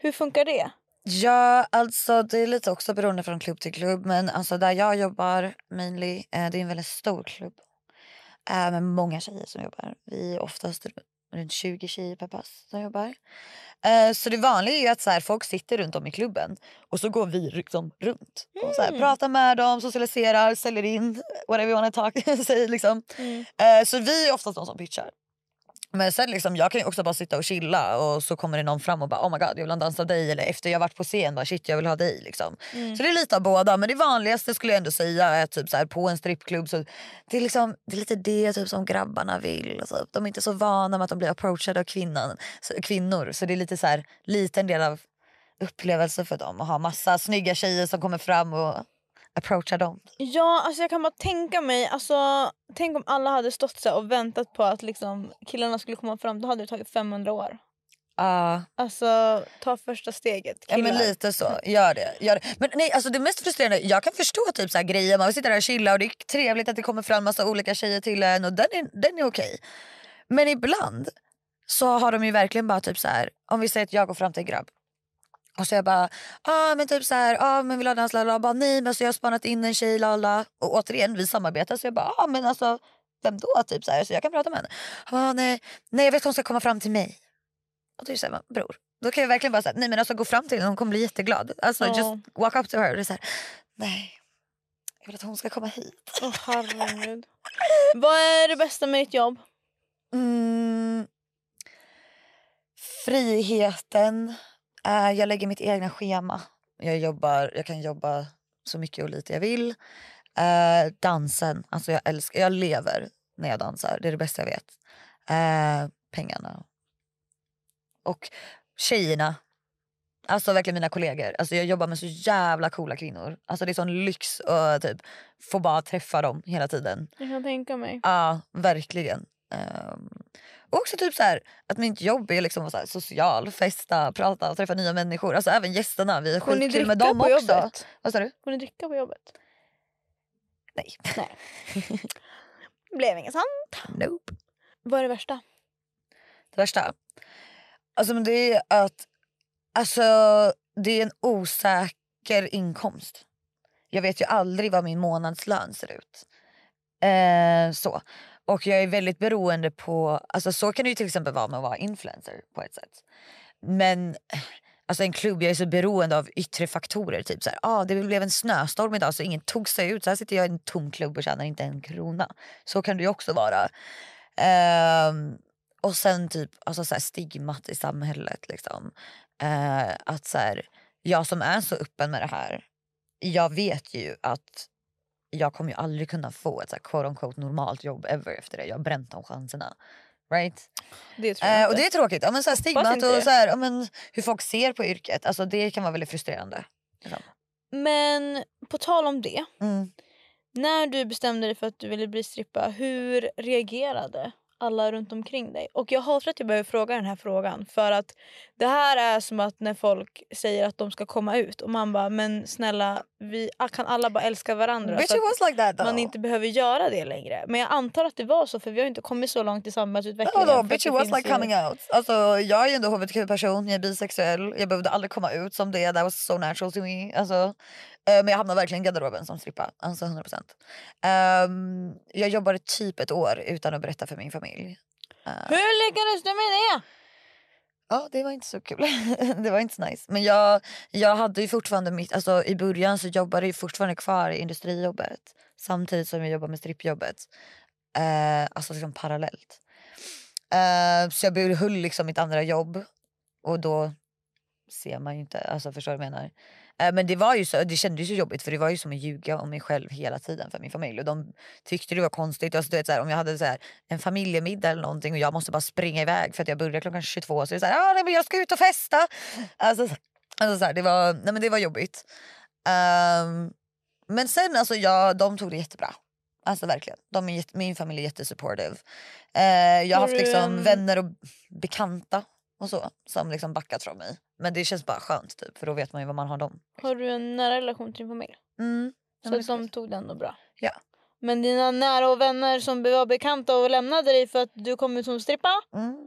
Hur funkar det?
Ja, alltså det är lite också beroende från klubb till klubb. Men alltså där jag jobbar mainly, eh, det är en väldigt stor klubb. Eh, med många tjejer som jobbar. Vi är oftast ru- runt 20 tjejer per pass som jobbar. Eh, så det vanliga är ju att så här, folk sitter runt om i klubben och så går vi liksom runt. Och så här,
Mm.
pratar med dem, socialiserar, säljer in, whatever you wanna talk, säger liksom.
Mm.
Eh, så vi är oftast de som pitchar. Men sen liksom, jag kan ju också bara sitta och chilla och så kommer det någon fram och bara oh my god jag vill ha en dans av dig eller efter jag varit på scen bara shit jag vill ha dig liksom. Så det är lite av båda men det vanligaste skulle jag ändå säga är typ så här, på en strippklubb så det är, liksom, det är lite det typ som grabbarna vill. Alltså, de är inte så vana med att de blir approachade av kvinnan, så, kvinnor så det är lite så här liten del av upplevelsen för dem att ha massa snygga tjejer som kommer fram och approachar dem.
Ja, alltså jag kan bara tänka mig, alltså, tänk om alla hade stått så här och väntat på att liksom, killarna skulle komma fram, då hade det tagit 500 år.
Ah.
Alltså, ta första steget
Ja,
killar.
men lite så. Gör det. Gör det. Men nej, alltså det mest frustrerande, jag kan förstå typ så här grejer, man vill sitta där och chilla och det är trevligt att det kommer fram massa olika tjejer till en och den är, den är okej. Men ibland så har de ju verkligen bara typ så här, om vi säger att jag går fram till en grabb och så jag bara, ah men typ så här, ah men vill du ha dans, lala? Bara, nej men så jag har spanat in en tjej, lala. Och återigen vi samarbetar så jag bara, ah men alltså vem då? Typ så här, så jag kan prata med henne. Han bara, "Ah, nej, nej jag vet att hon ska komma fram till mig. Och då är det så här, men, bror. Då kan jag verkligen bara säga, nej men alltså gå fram till henne, hon kommer bli jätteglad. Alltså
Ja.
just walk up to her. Och det är så här, nej. Jag vill att hon ska komma hit.
Åh, herregud. Vad är det bästa med ditt jobb?
Mm. Friheten. Eh, jag lägger mitt egna schema. Jag, jobbar, jag kan jobba så mycket och lite jag vill. Eh, dansen. Alltså jag, älskar, jag lever när jag dansar. Det är det bästa jag vet. Eh, pengarna. Och tjejerna. Alltså verkligen mina kollegor. Alltså jag jobbar med så jävla coola kvinnor. Alltså det är sån lyx att typ, få bara träffa dem hela tiden.
Jag kan tänka mig.
Ja, verkligen. Ehm, och också typ så här, att mitt jobb är liksom att så här, social, festa, prata och träffa nya människor. Alltså även gästerna, vi är
Får ni
skitkul
dricka
med dem
på
också.
jobbet?
Vad sa du?
Får ni dricka på jobbet?
Nej.
Nej. Blev inget sant.
Nope.
Vad är det värsta?
Det värsta? Alltså men det är att alltså, det är en osäker inkomst. Jag vet ju aldrig vad min månadslön ser ut. Eh, så. Och jag är väldigt beroende på, alltså så kan det ju till exempel vara med att vara influencer på ett sätt. Men alltså en klubb, jag är så beroende av yttre faktorer. Typ så här, ah, det blev en snöstorm idag så ingen tog sig ut. Så här sitter jag i en tom klubb och tjänar inte en krona. Så kan det ju också vara. Ehm, och sen typ alltså så här, stigmat i samhället. Liksom. Eh, att så här, jag som är så öppen med det här, jag vet ju att jag kommer ju aldrig kunna få ett så här, quote unquote normalt jobb ever efter det. Jag har bränt de chanserna. Right?
Det tror jag
Eh, och
inte.
det är tråkigt. Ja, men så här, stigmat
inte det.
och så här, ja, men, hur folk ser på yrket, alltså, det kan vara väldigt frustrerande.
Men på tal om det.
Mm.
När du bestämde dig för att du ville bli strippa, hur reagerade alla runt omkring dig? Och jag hatar att jag behöver fråga den här frågan för att det här är som att när folk säger att de ska komma ut och man bara men snälla vi kan alla bara älska varandra
Bitch
så
it
alltså att
was like that though.
man inte behöver göra det längre. Men jag antar att det var så för vi har ju inte kommit så långt i
Ja,
samhällsutvecklingen.
då,
för
bitch
att
it
det
was
finns
like
ju-
coming out. Alltså, jag är ju ändå hbtq-person, jag är bisexuell. Jag behövde aldrig komma ut som det, that was so natural to me. Alltså, eh, men jag hamnade verkligen i garderoben som strippa, alltså 100%. Ehm, jag jobbade typ ett år utan att berätta för min familj.
Hur lyckades du med det?
Ja, det var inte så kul. det var inte så nice. Men jag, jag hade ju fortfarande mitt... Alltså i början så jobbade jag ju fortfarande kvar i industrijobbet. Samtidigt som jag jobbade med strippjobbet. Eh, alltså liksom parallellt. Eh, så jag behöll liksom mitt andra jobb. Och då ser man ju inte, alltså förstår du vad jag menar? Eh, men det var ju så, det kändes ju jobbigt för det var ju som att ljuga om mig själv hela tiden för min familj. Och de tyckte det var konstigt. Alltså, du vet, så här, om jag hade så här, en familjemiddag eller någonting och jag måste bara springa iväg för att jag börjar klockan 22 så är det så här, ah, nej, men jag ska ut och festa. Alltså, så- alltså, så här, det, var, nej, men det var jobbigt. Ehm, men sen alltså jag, de tog det jättebra. Alltså verkligen. De är jätte, min familj är jättesupportive. Eh, jag
Har
har haft
du,
liksom
ehm,
vänner och bekanta och så som liksom backat från mig. Men det känns bara skönt typ för då vet man ju vad man har dem.
Har du en nära relation till din familj?
Mm. Ja,
Så
men
att
det är
de tog den då bra?
Ja.
Men dina nära och vänner som var bekanta och lämnade dig för att du kom ut som strippa?
Mm.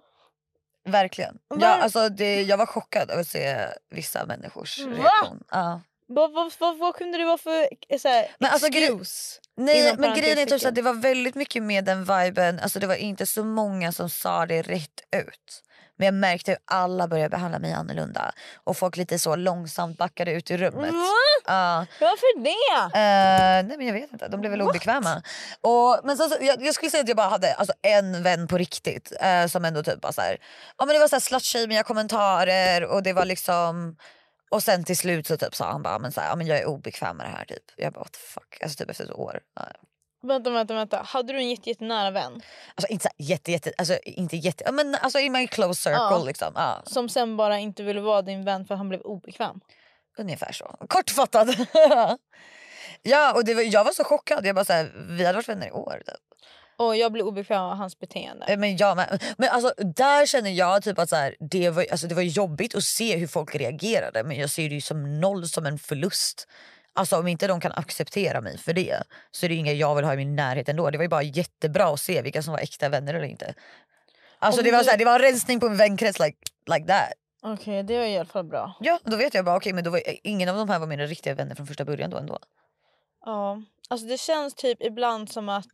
Verkligen.
Var-
Ja, alltså det, jag var chockad över att se vissa människors
Va?
reaktion. Ja.
Vad, vad, vad, vad kunde det vara för eh, så här,
Men alltså, gre-
excuse?
Nej,
Inom
men grejen är typ
parentestecken.
att det var väldigt mycket med den viben. Alltså det var inte så många som sa det rätt ut. Men jag märkte hur alla började behandla mig annorlunda. Och folk lite så långsamt backade ut i rummet.
Va?
Ja.
Varför det?
Eh, nej men jag vet inte, de blev väl
What?
obekväma. Och, men sen, så, jag, jag skulle säga att jag bara hade alltså, en vän på riktigt eh, som ändå typ bara såhär, ja men det var såhär slutshamea kommentarer och det var liksom och sen till slut så typ sa han bara men så här, ja, men jag är obekväm med det här typ. Jag bara what the fuck, alltså typ efter ett år. Ja.
Vänta, vänta, vänta. Hade du en jätte, jättenära vän
Alltså inte så här jätte jätte, alltså inte jätte, ja, men alltså in my close circle
Ja.
liksom. Ja,
som sen bara inte ville vara din vän för han blev obekväm?
ungefär så. Kortfattat. ja och det var, jag var så chockad, jag bara såhär, vi hade varit vänner i år typ.
Och jag blev obekväm av hans beteende.
Eh, Men jag med. Men alltså, där känner jag typ att så här, det, var, alltså, det var jobbigt att se hur folk reagerade men jag ser det ju som noll som en förlust. Alltså om inte de kan acceptera mig för det så är det inga jag vill ha i min närhet ändå. Det var ju bara jättebra att se vilka som var äkta vänner eller inte. Alltså
Om
det var,
du-
så här, det var en rensning på en vänkrets like, like that.
Okej, det var i alla fall bra.
Ja, då vet jag bara okej men då var, eh, ingen av de här var mina riktiga vänner från första början då ändå.
Ja, alltså det känns typ ibland som att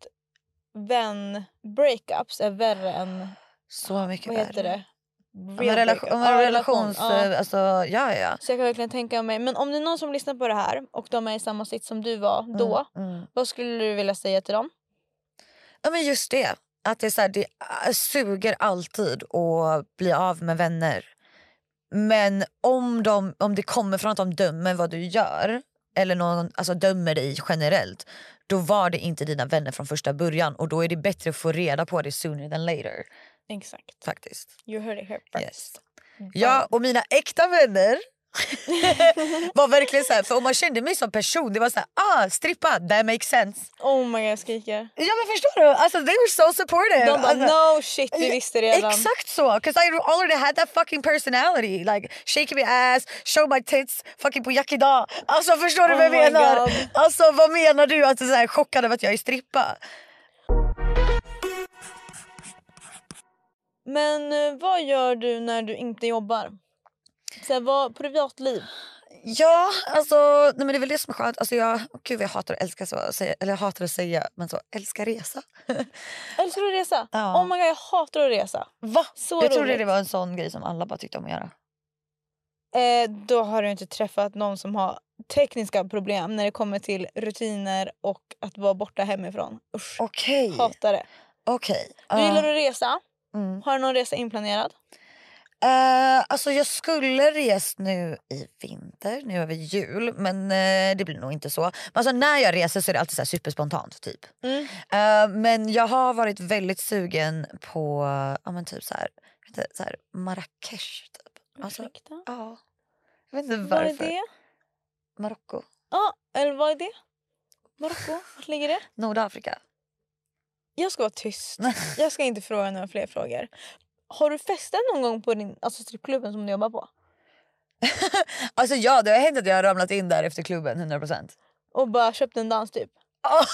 vän-breakups är värre än...
Så mycket
Vad heter
värre.
det?
Om en,
Real
relation,
breakup.
om
Ja,
en relations...
relation, ja.
eh, Alltså, ja, ja.
Så jag kan verkligen tänka mig. Men om det är någon som lyssnar på det här och de är i samma sits som du var
Mm,
då.
mm.
Vad skulle du vilja säga till dem?
Ja men just det. Att det, är så här, det äh, suger alltid att bli av med vänner. Men om, de, om det kommer från att de dömer vad du gör eller någon alltså, dömer dig generellt då var det inte dina vänner från första början och då är det bättre att få reda på det sooner than later.
Exakt.
faktiskt.
You heard it here
Yes.
first.
Ja, och mina äkta vänner var verkligen så här, för om man kände mig som person det var så här, ah strippa, that makes sense.
Oh my god jag skriker.
Ja men förstår du? Alltså they were so supportive.
De bara
Alltså-
no shit vi visste redan.
Exakt så! Because I already had that fucking personality. Like shaking my ass, show my tits, fucking på Jack idag. Alltså förstår du
Oh
vad jag
my
menar?
God.
Alltså vad menar du att du är så här chockad över att jag är strippa?
Men eh, vad gör du när du inte jobbar? Så här, vad, privatliv.
Ja, alltså nej men det är väl det som är skönt. Alltså jag, åh, gud jag hatar att älska så, att säga, eller jag hatar att säga men så, älska resa.
Älskar du att resa?
Ja.
Oh my god jag hatar att resa.
Va?
Så
jag trodde
roligt.
det var en sån grej som alla bara tyckte om att göra.
Eh, då har du inte träffat någon som har tekniska problem när det kommer till rutiner och att vara borta hemifrån. Usch.
Okej,
Hatar det.
okej.
Du
ja.
gillar att resa.
Mm.
Har du någon resa inplanerad?
Eh, alltså jag skulle rest nu i vinter, nu över jul, men eh, det blir nog inte så. Men alltså när jag reser så är det alltid så här superspontant typ.
Mm.
Eh, men jag har varit väldigt sugen på ja, men typ så här, jag vet inte, så här Marrakesh typ. Alltså,
Ursäkta?
ja. Jag vet inte
Vad är
varför.
det?
Marocko,
Ja, eller vad är det? Marocko? Vart ligger det?
Nordafrika.
Jag ska vara tyst. Jag ska inte fråga några fler frågor. Har du festat någon gång på din alltså strippklubben som du jobbar på?
Alltså ja, det har hänt att jag har ramlat in där efter klubben 100%.
Och bara köpt en dans typ?
Ah.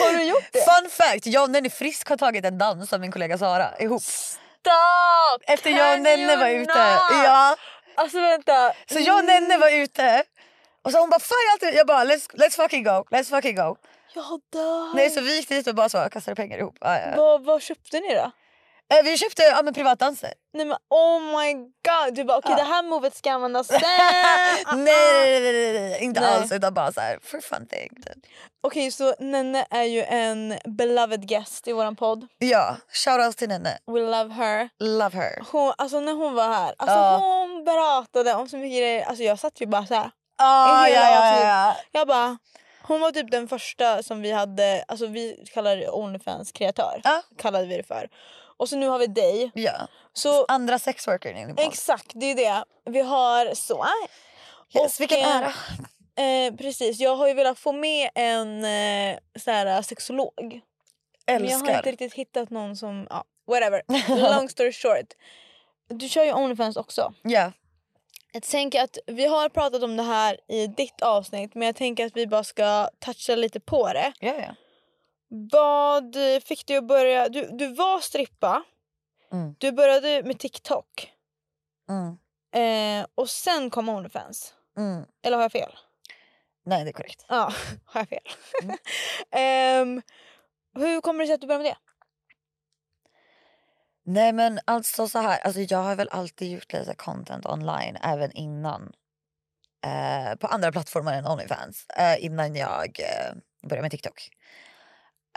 Har du gjort det?
Fun fact, jag och Nenny Frisk har tagit en dans av min kollega Sara ihop.
Stopp!
Efter jag och
Can
Nenne
you
var ute.
not?
Ja.
Alltså vänta.
Så jag och Nenne var ute och så hon bara fan jag, har alltid-" jag bara let's, let's fucking go, let's fucking go.
Mm, Jag dör.
Nej så vi gick dit och bara så kastade pengar ihop. Ja, ja.
Vad, vad köpte ni då?
Eh, Vi köpte ja, men privatdanser.
Nej men oh my god. Du bara okej det här movet ska användas sen.
nej, nej, nej, nej, nej, inte
Ah, Nej.
alls utan bara så här for fun thing. typ.
Okej så Nenne är ju en beloved guest i våran podd.
Ja, shoutouts till Nenne.
We love her.
Love her.
Hon, alltså när hon var här, alltså
Ja.
hon berättade om så mycket grejer. Alltså jag satt ju bara så här.
Ah,
hela
ja, ja,
avsnitt.
ja,
Jag bara, hon var typ den första som vi hade, alltså vi kallar det Onlyfans kreatör.
Ja.
Kallade vi det för. Och så nu har vi dig.
ja.
Så
Andra sexworkern in i
exakt, det är det. Vi har så.
Yes, vilken
eh,
ära.
Eh, precis, jag har ju velat få med en eh, sån här sexolog. Men jag har inte
Älskar.
riktigt hittat någon som... Ja, whatever. Long story short. Du kör ju Onlyfans också.
Ja.
Jag tänker att vi har pratat om det här i ditt avsnitt men jag tänker att vi bara ska toucha lite på det.
Ja, ja.
Vad fick du att börja... Du, du var strippa.
Mm.
Du började med TikTok.
Mm.
Eh, och sen kom Onlyfans.
Mm.
Eller har jag fel?
Nej, det är korrekt.
Ja, Mm. har jag fel? Ehm, hur kommer det sig att du började med det?
Nej men alltså så här, alltså jag har väl alltid gjort lite content online även innan. Eh, på andra plattformar än Onlyfans. Eh, innan jag eh, började med TikTok.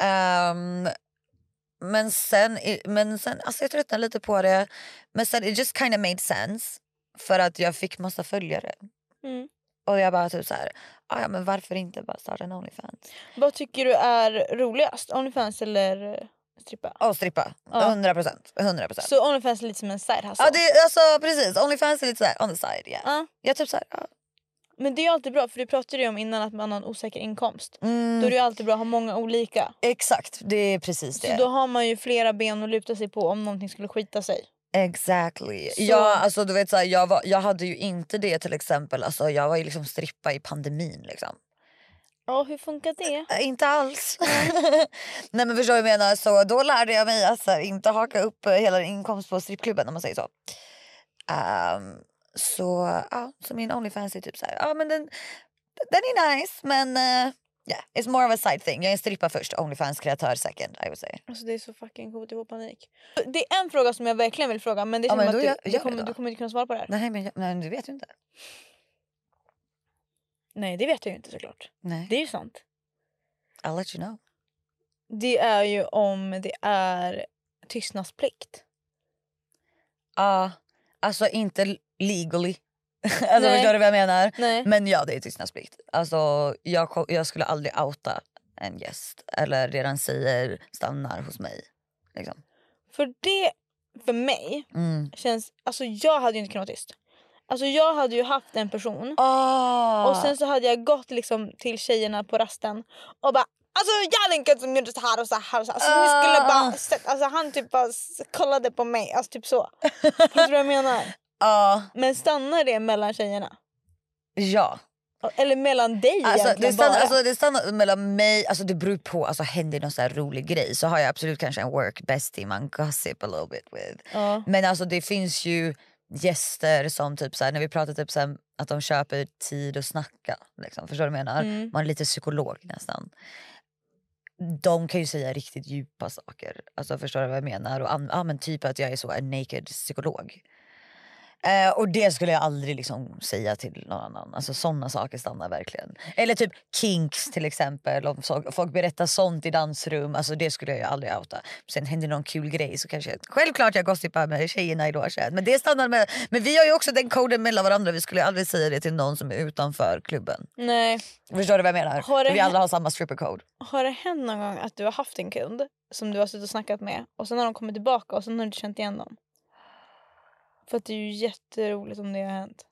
Ehm, men sen, i- men sen alltså jag tröttnade lite på det. Men sen it just kind of made sense. För att jag fick massa följare.
Mm.
Och jag bara typ så här, "Ah, ja men varför inte bara starta en Onlyfans?
Vad tycker du är roligast? Onlyfans eller eh, strippa?
Och strippa,
Ja.
100 procent. 100 procent.
Så Onlyfans är lite som en side hustle?
Ja det är alltså precis, Onlyfans är lite så här on the side yeah.
Ja.
Jag typ så här, ja.
Men det är ju alltid bra för du pratade ju om innan att man har en osäker inkomst.
mm,
Då är det ju alltid bra att ha många olika.
Exakt, det är precis
Så
det.
då har man ju flera ben att luta sig på om någonting skulle skita sig.
Exactly.
Så-
Ja, alltså, du vet, så här, jag, var, jag hade ju inte det till exempel. Alltså, jag var ju liksom strippa i pandemin. Liksom.
Ja, hur funkar det?
Äh, inte alls. Nej men förstår du vad jag menar? Så då lärde jag mig att så här, inte haka upp eh, hela din inkomst på strippklubben om man säger så. Ehm, så, ja, så min Onlyfans är typ så här, ja men den, den är nice men eh, yeah, it's more of a side thing. Jag är en strippa först, Onlyfans kreatör second I would say.
Alltså det är så fucking KTH-panik. Det är en fråga som jag verkligen vill fråga men det
Ja,
känns
men
som
då
att
gör-
du,
gör
du,
det
kommer,
då.
du kommer inte kunna svara på det här.
Nej men, jag, nej, du vet ju inte.
Nej det vet jag ju inte såklart.
Nej.
Det är ju sant.
I'll let you know.
Det är ju om det är tystnadsplikt.
Ja, alltså inte legally. alltså
Nej.
förstår du vad jag menar?
Nej.
Men ja, det är tystnadsplikt. Alltså, jag, ko- jag skulle aldrig outa en gäst eller redan säger stannar hos mig. Liksom.
För det, för mig,
Mm.
känns... Alltså jag hade ju inte kunnat vara tyst. Alltså jag hade ju haft en person
Ah.
och sen så hade jag gått liksom till tjejerna på rasten och bara Alltså Jalenka som gjorde så här och så här och så här. Så ni
Ah.
skulle bara sett, alltså han typ bara s- kollade på mig. Alltså typ så. Förstår du vad jag menar?
Ah,
Men stannar det mellan tjejerna?
ja.
Eller mellan dig
Alltså, det,
egentligen
stannar,
bara?
alltså, det stannar mellan mig, alltså det beror på, alltså händer någon så här rolig grej så har jag absolut kanske en work bestie man gossip a little bit with.
ja.
Men alltså det finns ju gäster som typ så här, när vi pratar typ så här, att de köper tid att snacka. Liksom, förstår du vad jag menar?
Mm.
Man är lite psykolog nästan. De kan ju säga riktigt djupa saker. Alltså förstår du vad jag menar? Och an- ja, men typ att jag är så en naked psykolog. Eh, och det skulle jag aldrig liksom säga till någon annan. Alltså sådana saker stannar verkligen. Eller typ kinks till exempel. Om så- folk berättar sånt i dansrum. Alltså det skulle jag ju aldrig outa. Sen händer någon kul grej så kanske jag, självklart jag gossipar med tjejerna i logen. Men det stannar med. Men vi har ju också den koden mellan varandra. Vi skulle ju aldrig säga det till någon som är utanför klubben.
Nej.
Förstår du vad jag menar?
Har det
vi
hä-
alla har samma strippercode.
Har det hänt någon gång att du har haft en kund som du har suttit och snackat med och sen har de kommit tillbaka och sen har du inte känt igen dem? För att det är ju jätteroligt om det har hänt.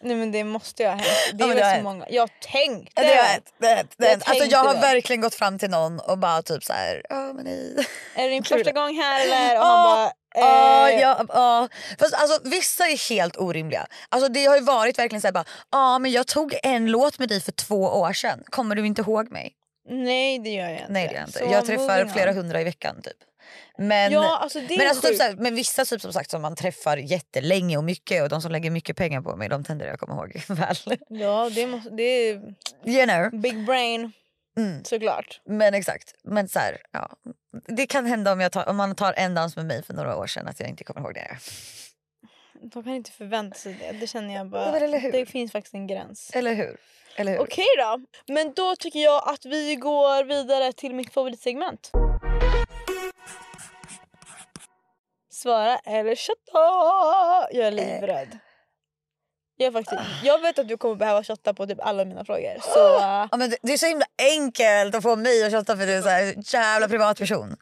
Nej men det måste ju ha hänt. Det
Ja, men
är väl
det har
så
hänt.
många. Jag tänkte!
Det har hänt, det har hänt, det har
Jag
hänt. Alltså
tänkte
jag har
det.
verkligen gått fram till någon och bara typ så här, ja men hej.
Är det din
Kul.
första gång här eller? Och han
Ah,
bara...
Ja,
eh,
ja, ja. Fast alltså, vissa är helt orimliga. Alltså, det har ju varit verkligen så här bara, ja men jag tog en låt med dig för två år sedan. Kommer du inte ihåg mig?
Nej det gör jag inte.
Nej det gör jag inte.
Så,
jag träffar
moving on.
flera hundra i veckan typ. Men,
Ja alltså det är
men, alltså, typ,
sjukt.
så här, men vissa typ, som sagt som man träffar jättelänge och mycket och de som lägger mycket pengar på mig de tänder jag kommer ihåg väl.
Ja det, måste, det är
You know.
big brain
Mm.
såklart.
Men exakt. Men så här, ja. Det kan hända om, jag tar, om man tar en dans med mig för några år sedan att jag inte kommer ihåg det.
De kan inte förvänta sig det. Det känner jag bara.
Ja, men eller hur?
Det finns faktiskt en gräns.
Eller hur? Eller hur?
Okej då. Men då tycker jag att vi går vidare till mitt favoritsegment. Svara eller chatta. Jag är livrädd. Jag, är faktiskt, jag vet att du kommer behöva chatta på typ alla mina frågor. Så eh,
Ja, men det, det är så himla enkelt att få mig att tjata för du är så här, jävla privatperson.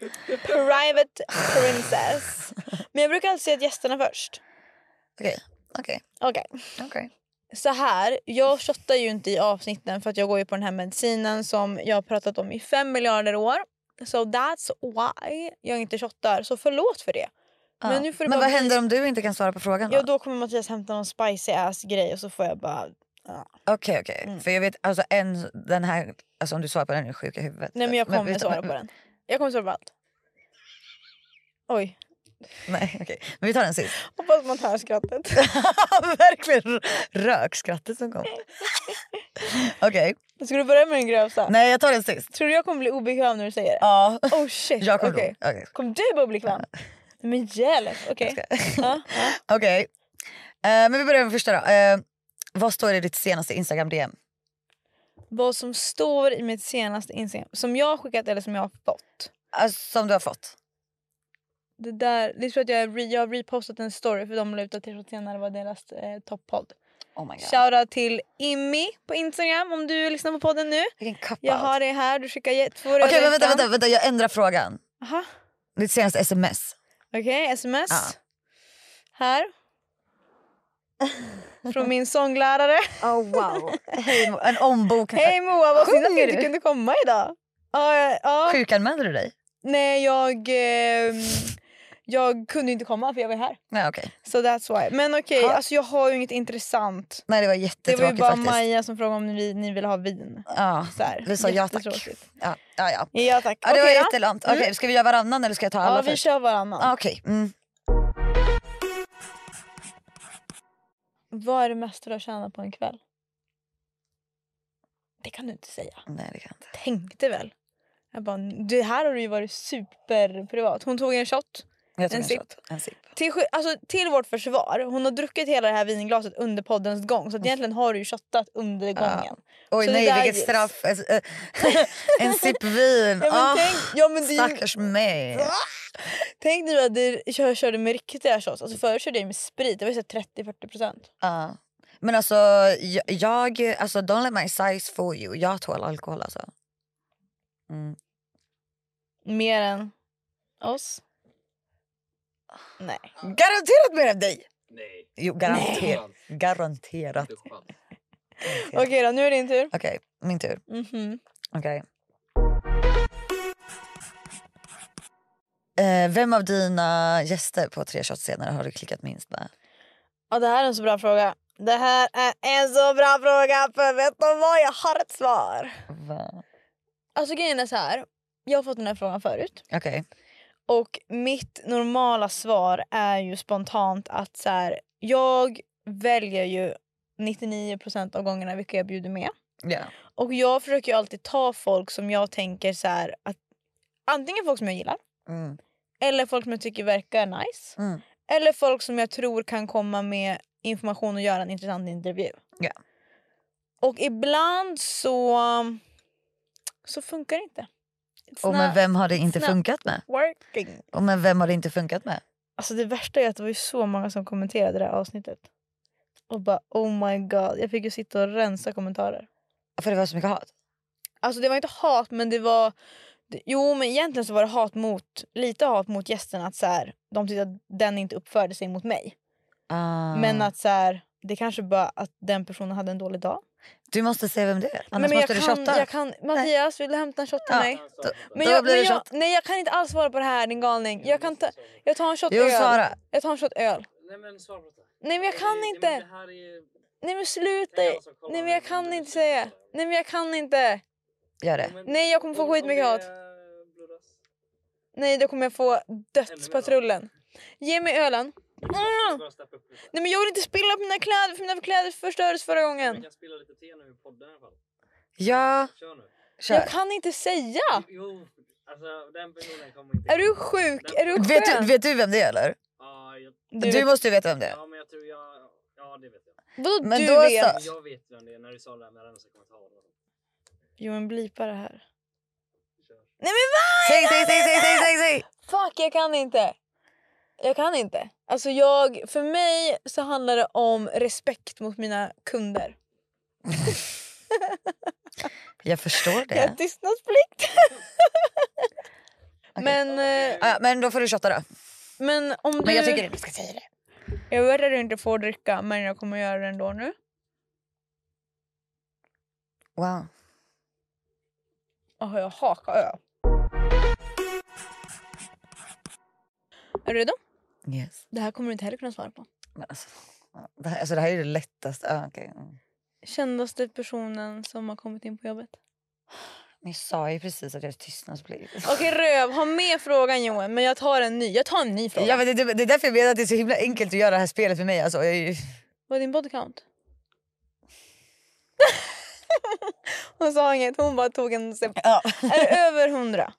private princess. Men jag brukar alltid säga att gästerna först.
Okej, okej,
Okej.
okej.
så här, jag shottar ju inte i avsnitten för att jag går ju på den här medicinen som jag har pratat om i fem miljarder år. So that's why jag inte shottar, så förlåt för det.
Ja.
Men
Men,
nu får det bara
vad
bli-
händer om du inte kan svara på frågan?
Ja,
då?
då kommer Mattias hämta någon spicy ass grej och så får jag bara...
Okej, okej.
Mm.
För jag vet, alltså en, den här, alltså om du svarar på den är du sjuk i huvudet.
Nej men jag kommer
vet-
svara på den. Jag kommer svara på allt. Oj,
Nej, okej. Men vi tar den sist.
hoppas man hör skrattet.
Verkligen rökskrattet som kom. okej,
Ska du börja med den grövsta?
nej jag tar den sist.
Tror du jag kommer bli obekväm när du säger det?
Ja,
Oh shit,
jag kommer
okej.
okay. Okej.
Kom du bli obekväm? Men hjälp, okej. Ja, ja.
Okej. Eh, men vi börjar med första då. Eh, vad står i ditt senaste Instagram DM?
Vad som står i mitt senaste Instagram, som jag har skickat eller som jag har fått.
Alltså, som du har fått.
Det, där, det är så att jag, re, jag har repostat en story för de la ut att t-shirt senare var deras eh, toppodd.
Oh my god.
Shoutout till Immi på Instagram om du lyssnar på podden nu.
Vilken cop-out.
Jag har det här, du skickar ge- två
Okej men
röda
vänta,
hjärtan.
vänta, vänta, jag ändrar frågan.
Aha.
Ditt senaste sms.
Okej, sms.
Ja.
Här. Från min sånglärare.
Oh wow. Hej, Mo- en Äh, ombokning.
Hej Moa, vad synd att du
Sjunger
inte
du?
kunde komma idag. Ja, ja, ja.
Sjukanmälde du dig?
Nej, jag, eh, jag kunde inte komma för jag var här.
Nej okej.
Så that's why. Men okej,
Ja.
alltså jag har ju inget intressant.
Nej det var
Det, var ju
jättetråkigt
bara
faktiskt.
Maja som frågade om ni, ni ville ha vin.
Ja.
Så här.
Vi sa ja tack.
Jättetråkigt.
Ja, ja, ja.
Ja tack.
ja det var
Okej då. Mm.
jättelamt. Okej ska vi göra varannan eller ska jag ta alla
Ja, vi
först?
kör varannan.
Ah, okej. Mm.
Vad är det mesta du har tjänat på en kväll? Det kan du inte säga.
Nej det kan jag inte.
Tänkte väl. Jag bara, det här har du ju varit superprivat. Hon tog en shot.
Jag tog
En
en
sipp.
shot. En sipp.
Till, sky- alltså, till vårt försvar, hon har druckit hela det här vinglaset under poddens gång. Så att egentligen har du ju shottat under gången.
Oj
Så det
nej
där
vilket
gills.
straff. En, en sipp vin.
Ja, men
Ah,
tänk, ja, men det är ju-
stackars mig.
Tänk nu att det- jag körde med riktiga shots. Alltså förut körde jag med sprit. Det var ju så här 30-40%.
Ja. Men alltså, jag, jag, alltså don't let my size fool you. Jag tål alkohol alltså. Mm.
Mer än oss. Nej.
Garanterat mer än dig!
Nej.
Jo, garanterat. Garanterat.
Inte chans.
Okej då, nu är det din tur.
Okej, min tur.
Mhm.
Okej. Eh, vem av dina gäster på tre shots senare har du klickat minst med?
Ja, det här är en så bra fråga. Det här är en så bra fråga för vet du vad? Jag har ett svar.
Va?
Alltså grejen är så här. Jag har fått den här frågan förut.
Okej.
Och mitt normala svar är ju spontant att så här, jag väljer ju 99% av gångerna vilka jag bjuder med.
Ja.
Och jag försöker ju alltid ta folk som jag tänker så här att antingen folk som jag gillar
Mm.
eller folk som jag tycker verkar nice.
Mm.
Eller folk som jag tror kan komma med information och göra en intressant intervju.
Ja.
Och ibland så så funkar det inte. It's
Och men
not
vem har det inte
snä-
funkat med?
working.
Och men vem har det inte funkat med?
Alltså det värsta är att det var ju så många som kommenterade det här avsnittet. Och bara oh my god. Jag fick ju sitta och rensa kommentarer.
För det var så mycket hat.
Alltså det var inte hat men det var det- Jo men egentligen så var det hat mot Lite hat mot gästerna att så här, De tyckte att den inte uppförde sig mot mig
Ah.
Men att så här, Det kanske bara att den personen hade en dålig dag
Du måste säga vem det är.
Nej,
Annars
men
måste
jag
du
kan,
shotta.
Jag kan, Mattias vill du hämta en shot till
Ja.
mig?
Alltså,
Då,
Men
då
jag,
blir
men
det
jag,
shot.
nej jag kan inte alls svara på det här din galning Jag, kan ta, jag tar en shot
Jo
öl
Sara.
Jag tar en shot öl
Nej men svara på det.
Nej men jag kan
Nej,
inte
men det här är...
Nej men
Det
sluta
är jag som kollar
Nej men
med
jag
den
kan
under
inte
tiden.
säga Nej men jag kan inte
Gör
Ja,
det.
men-
Nej, jag kommer få
om-
skitmycket
om
hat.
det är blodras.
Nej då kommer jag få dödspatrullen Ge mig ölen
Vi
Mm.
bara steppa upp lite.
Nej men jag vill inte spilla på mina kläder för mina kläder förstördes förra
Vi
gången.
kan spela lite te nu i podden i alla fall.
Ja,
Kör nu.
kör.
Jag kan inte säga.
Jo, alltså den personen kommer inte...
Är du sjuk? Är du skön?
Vet du, vet du vem det är eller?
Ja, jag...
Du,
du vet,
måste ju veta vem det är.
ja, men jag tror jag... Ja, det vet jag.
vadå
Men
du
då
vet?
så-
Men Jag vet vem det är när du sa det där med rensa kommentarer.
Jo men blipa det här.
Kör.
Nej men va?
Säg, säg, säg, säg, säg, säg, säg!
Fuck jag kan inte. Jag kan inte. Alltså jag, för mig så handlar det om respekt mot mina kunder.
Jag förstår
Jag har
det.
tystnadsplikt.
Okej.
Men, eh,
Ja, men då får du shotta då.
men om du...
Men jag tycker inte du ska säga det.
Jag vet att du inte får dricka men jag kommer göra det ändå nu.
Wow.
Åh, jag hakar ö. Är du redo?
Yes.
Det här kommer du inte heller kunna svara på.
Men alltså, det, här, alltså, det här är ju det lättaste. Ah, okay. mm.
Kändaste personen som har kommit in på jobbet.
Ni sa ju precis att jag är tystnadsplikt.
Okej Röv, ha med frågan Johan men jag tar en ny. Jag tar en ny fråga.
Ja, men det, det, det är därför jag menar att det är så himla enkelt att göra det här spelet för mig. Alltså, jag, är ju-
Vad är din body count? hon sa inget, hon bara tog en sipp.
ja.
Är det över 100?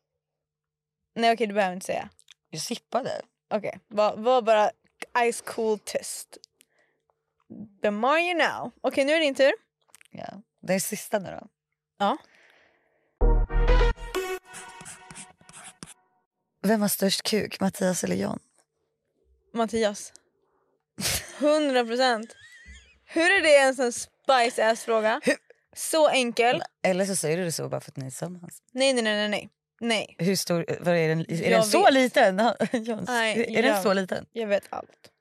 Nej okej du behöver inte säga.
jag sippade.
Okej, var, var bara ice cool test. The more you know. Okej nu är det din tur.
Ja. Det är sista nu då.
Ja.
Vem har störst kuk, Mattias eller John?
Mattias. 100 procent. Hur är det ens en spice ass fråga? Så enkel.
Eller så säger du det så bara för att ni är tillsammans.
Nej, nej, nej, nej, nej. Nej,
Hur stor, vad är den, är den
Jag
så
vet.
liten? John,
Nej,
är den
jag-
så liten?
jag vet allt.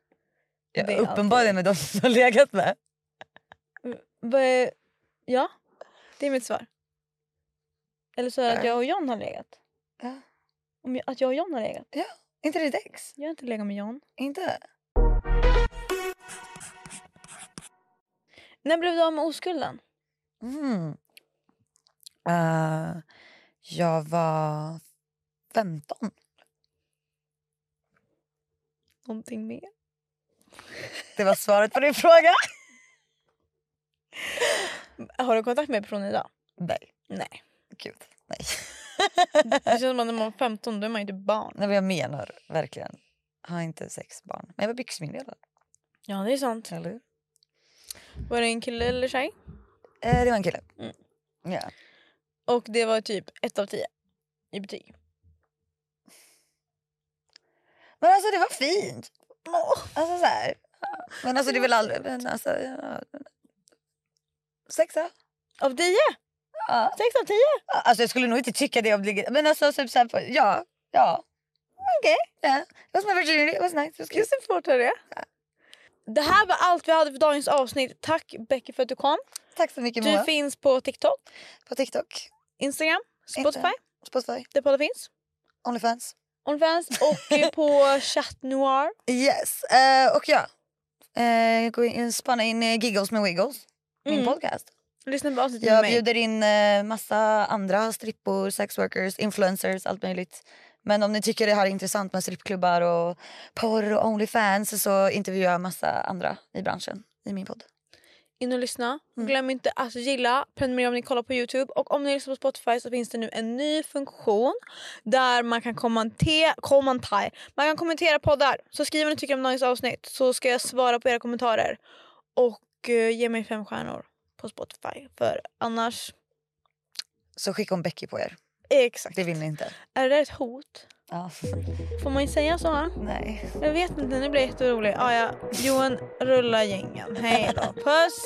Ja,
Det är
uppenbarligen med de som har legat med.
Vad- Ja, det är mitt svar. Eller så är det att jag och John har legat. Äh.
Ja.
Om jag, att jag och John har legat.
inte ditt ex?
Jag har inte legat med John.
Inte?
När blev du av med oskulden?
Mm. Eh, jag var 15.
Någonting mer?
Det var svaret på din fråga.
Har du kontakt med personen idag?
Nej.
Nej.
Gud, nej.
Det känns som att när man var 15 då är man ju inte barn.
nej men jag menar verkligen. Jag har inte sex barn. Men jag var byxmyndigad.
Ja, det är sant.
Eller hur?
Var det en kille eller tjej?
Eh, det var en kille.
Mm.
Ja.
Och det var typ 1 av 10 i betyg.
Men alltså det var fint. Åh, Alltså så här. Men alltså det är väl aldrig... Men alltså, ja. Sexa?
Av 10?
Ja.
6 av 10?
Alltså jag skulle nog inte tycka det om det ligger... Men alltså typ så här, på- ja. Ja. Okej. Yeah. It was my virginity, it was nice. It was
Gud
cute.
så svårt är det. Det här var allt vi hade för dagens avsnitt. Tack Becky för att du kom.
Tack så mycket
Du
Moa.
finns på TikTok,
På TikTok,
Instagram, Spotify,
Spotify,
där poddar finns.
Onlyfans.
Onlyfans och på Chat Noir.
Yes. Eh, och ja. Eh, gå in, spana in eh, Giggles med Wiggles. Min
Mm.
podcast.
Lyssna på avsnittet med
Jag
mig.
bjuder in eh, massa andra strippor, sexworkers, influencers, allt möjligt. Men om ni tycker det här är intressant med strippklubbar och porr och Onlyfans så intervjuar jag massa andra i branschen i min podd.
In och lyssna. Glöm inte att gilla, prenumerera om ni kollar på Youtube och om ni lyssnar på Spotify så finns det nu en ny funktion där man kan kommentera, kommentera, man kan kommentera poddar. Så skriv vad ni tycker om dagens avsnitt så ska jag svara på era kommentarer och eh, ge mig fem stjärnor på Spotify för annars
Så skicka om Becky på er.
Exakt.
Det vill ni inte.
Är det där ett hot?
Ja.
Får man ju säga så?
Nej.
Jag vet inte, nu blir jag jätterolig. Ah, ja. Johan, rulla gängen. Hej då. Puss!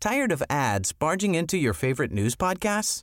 Tired of ads barging into your favorite news podcasts?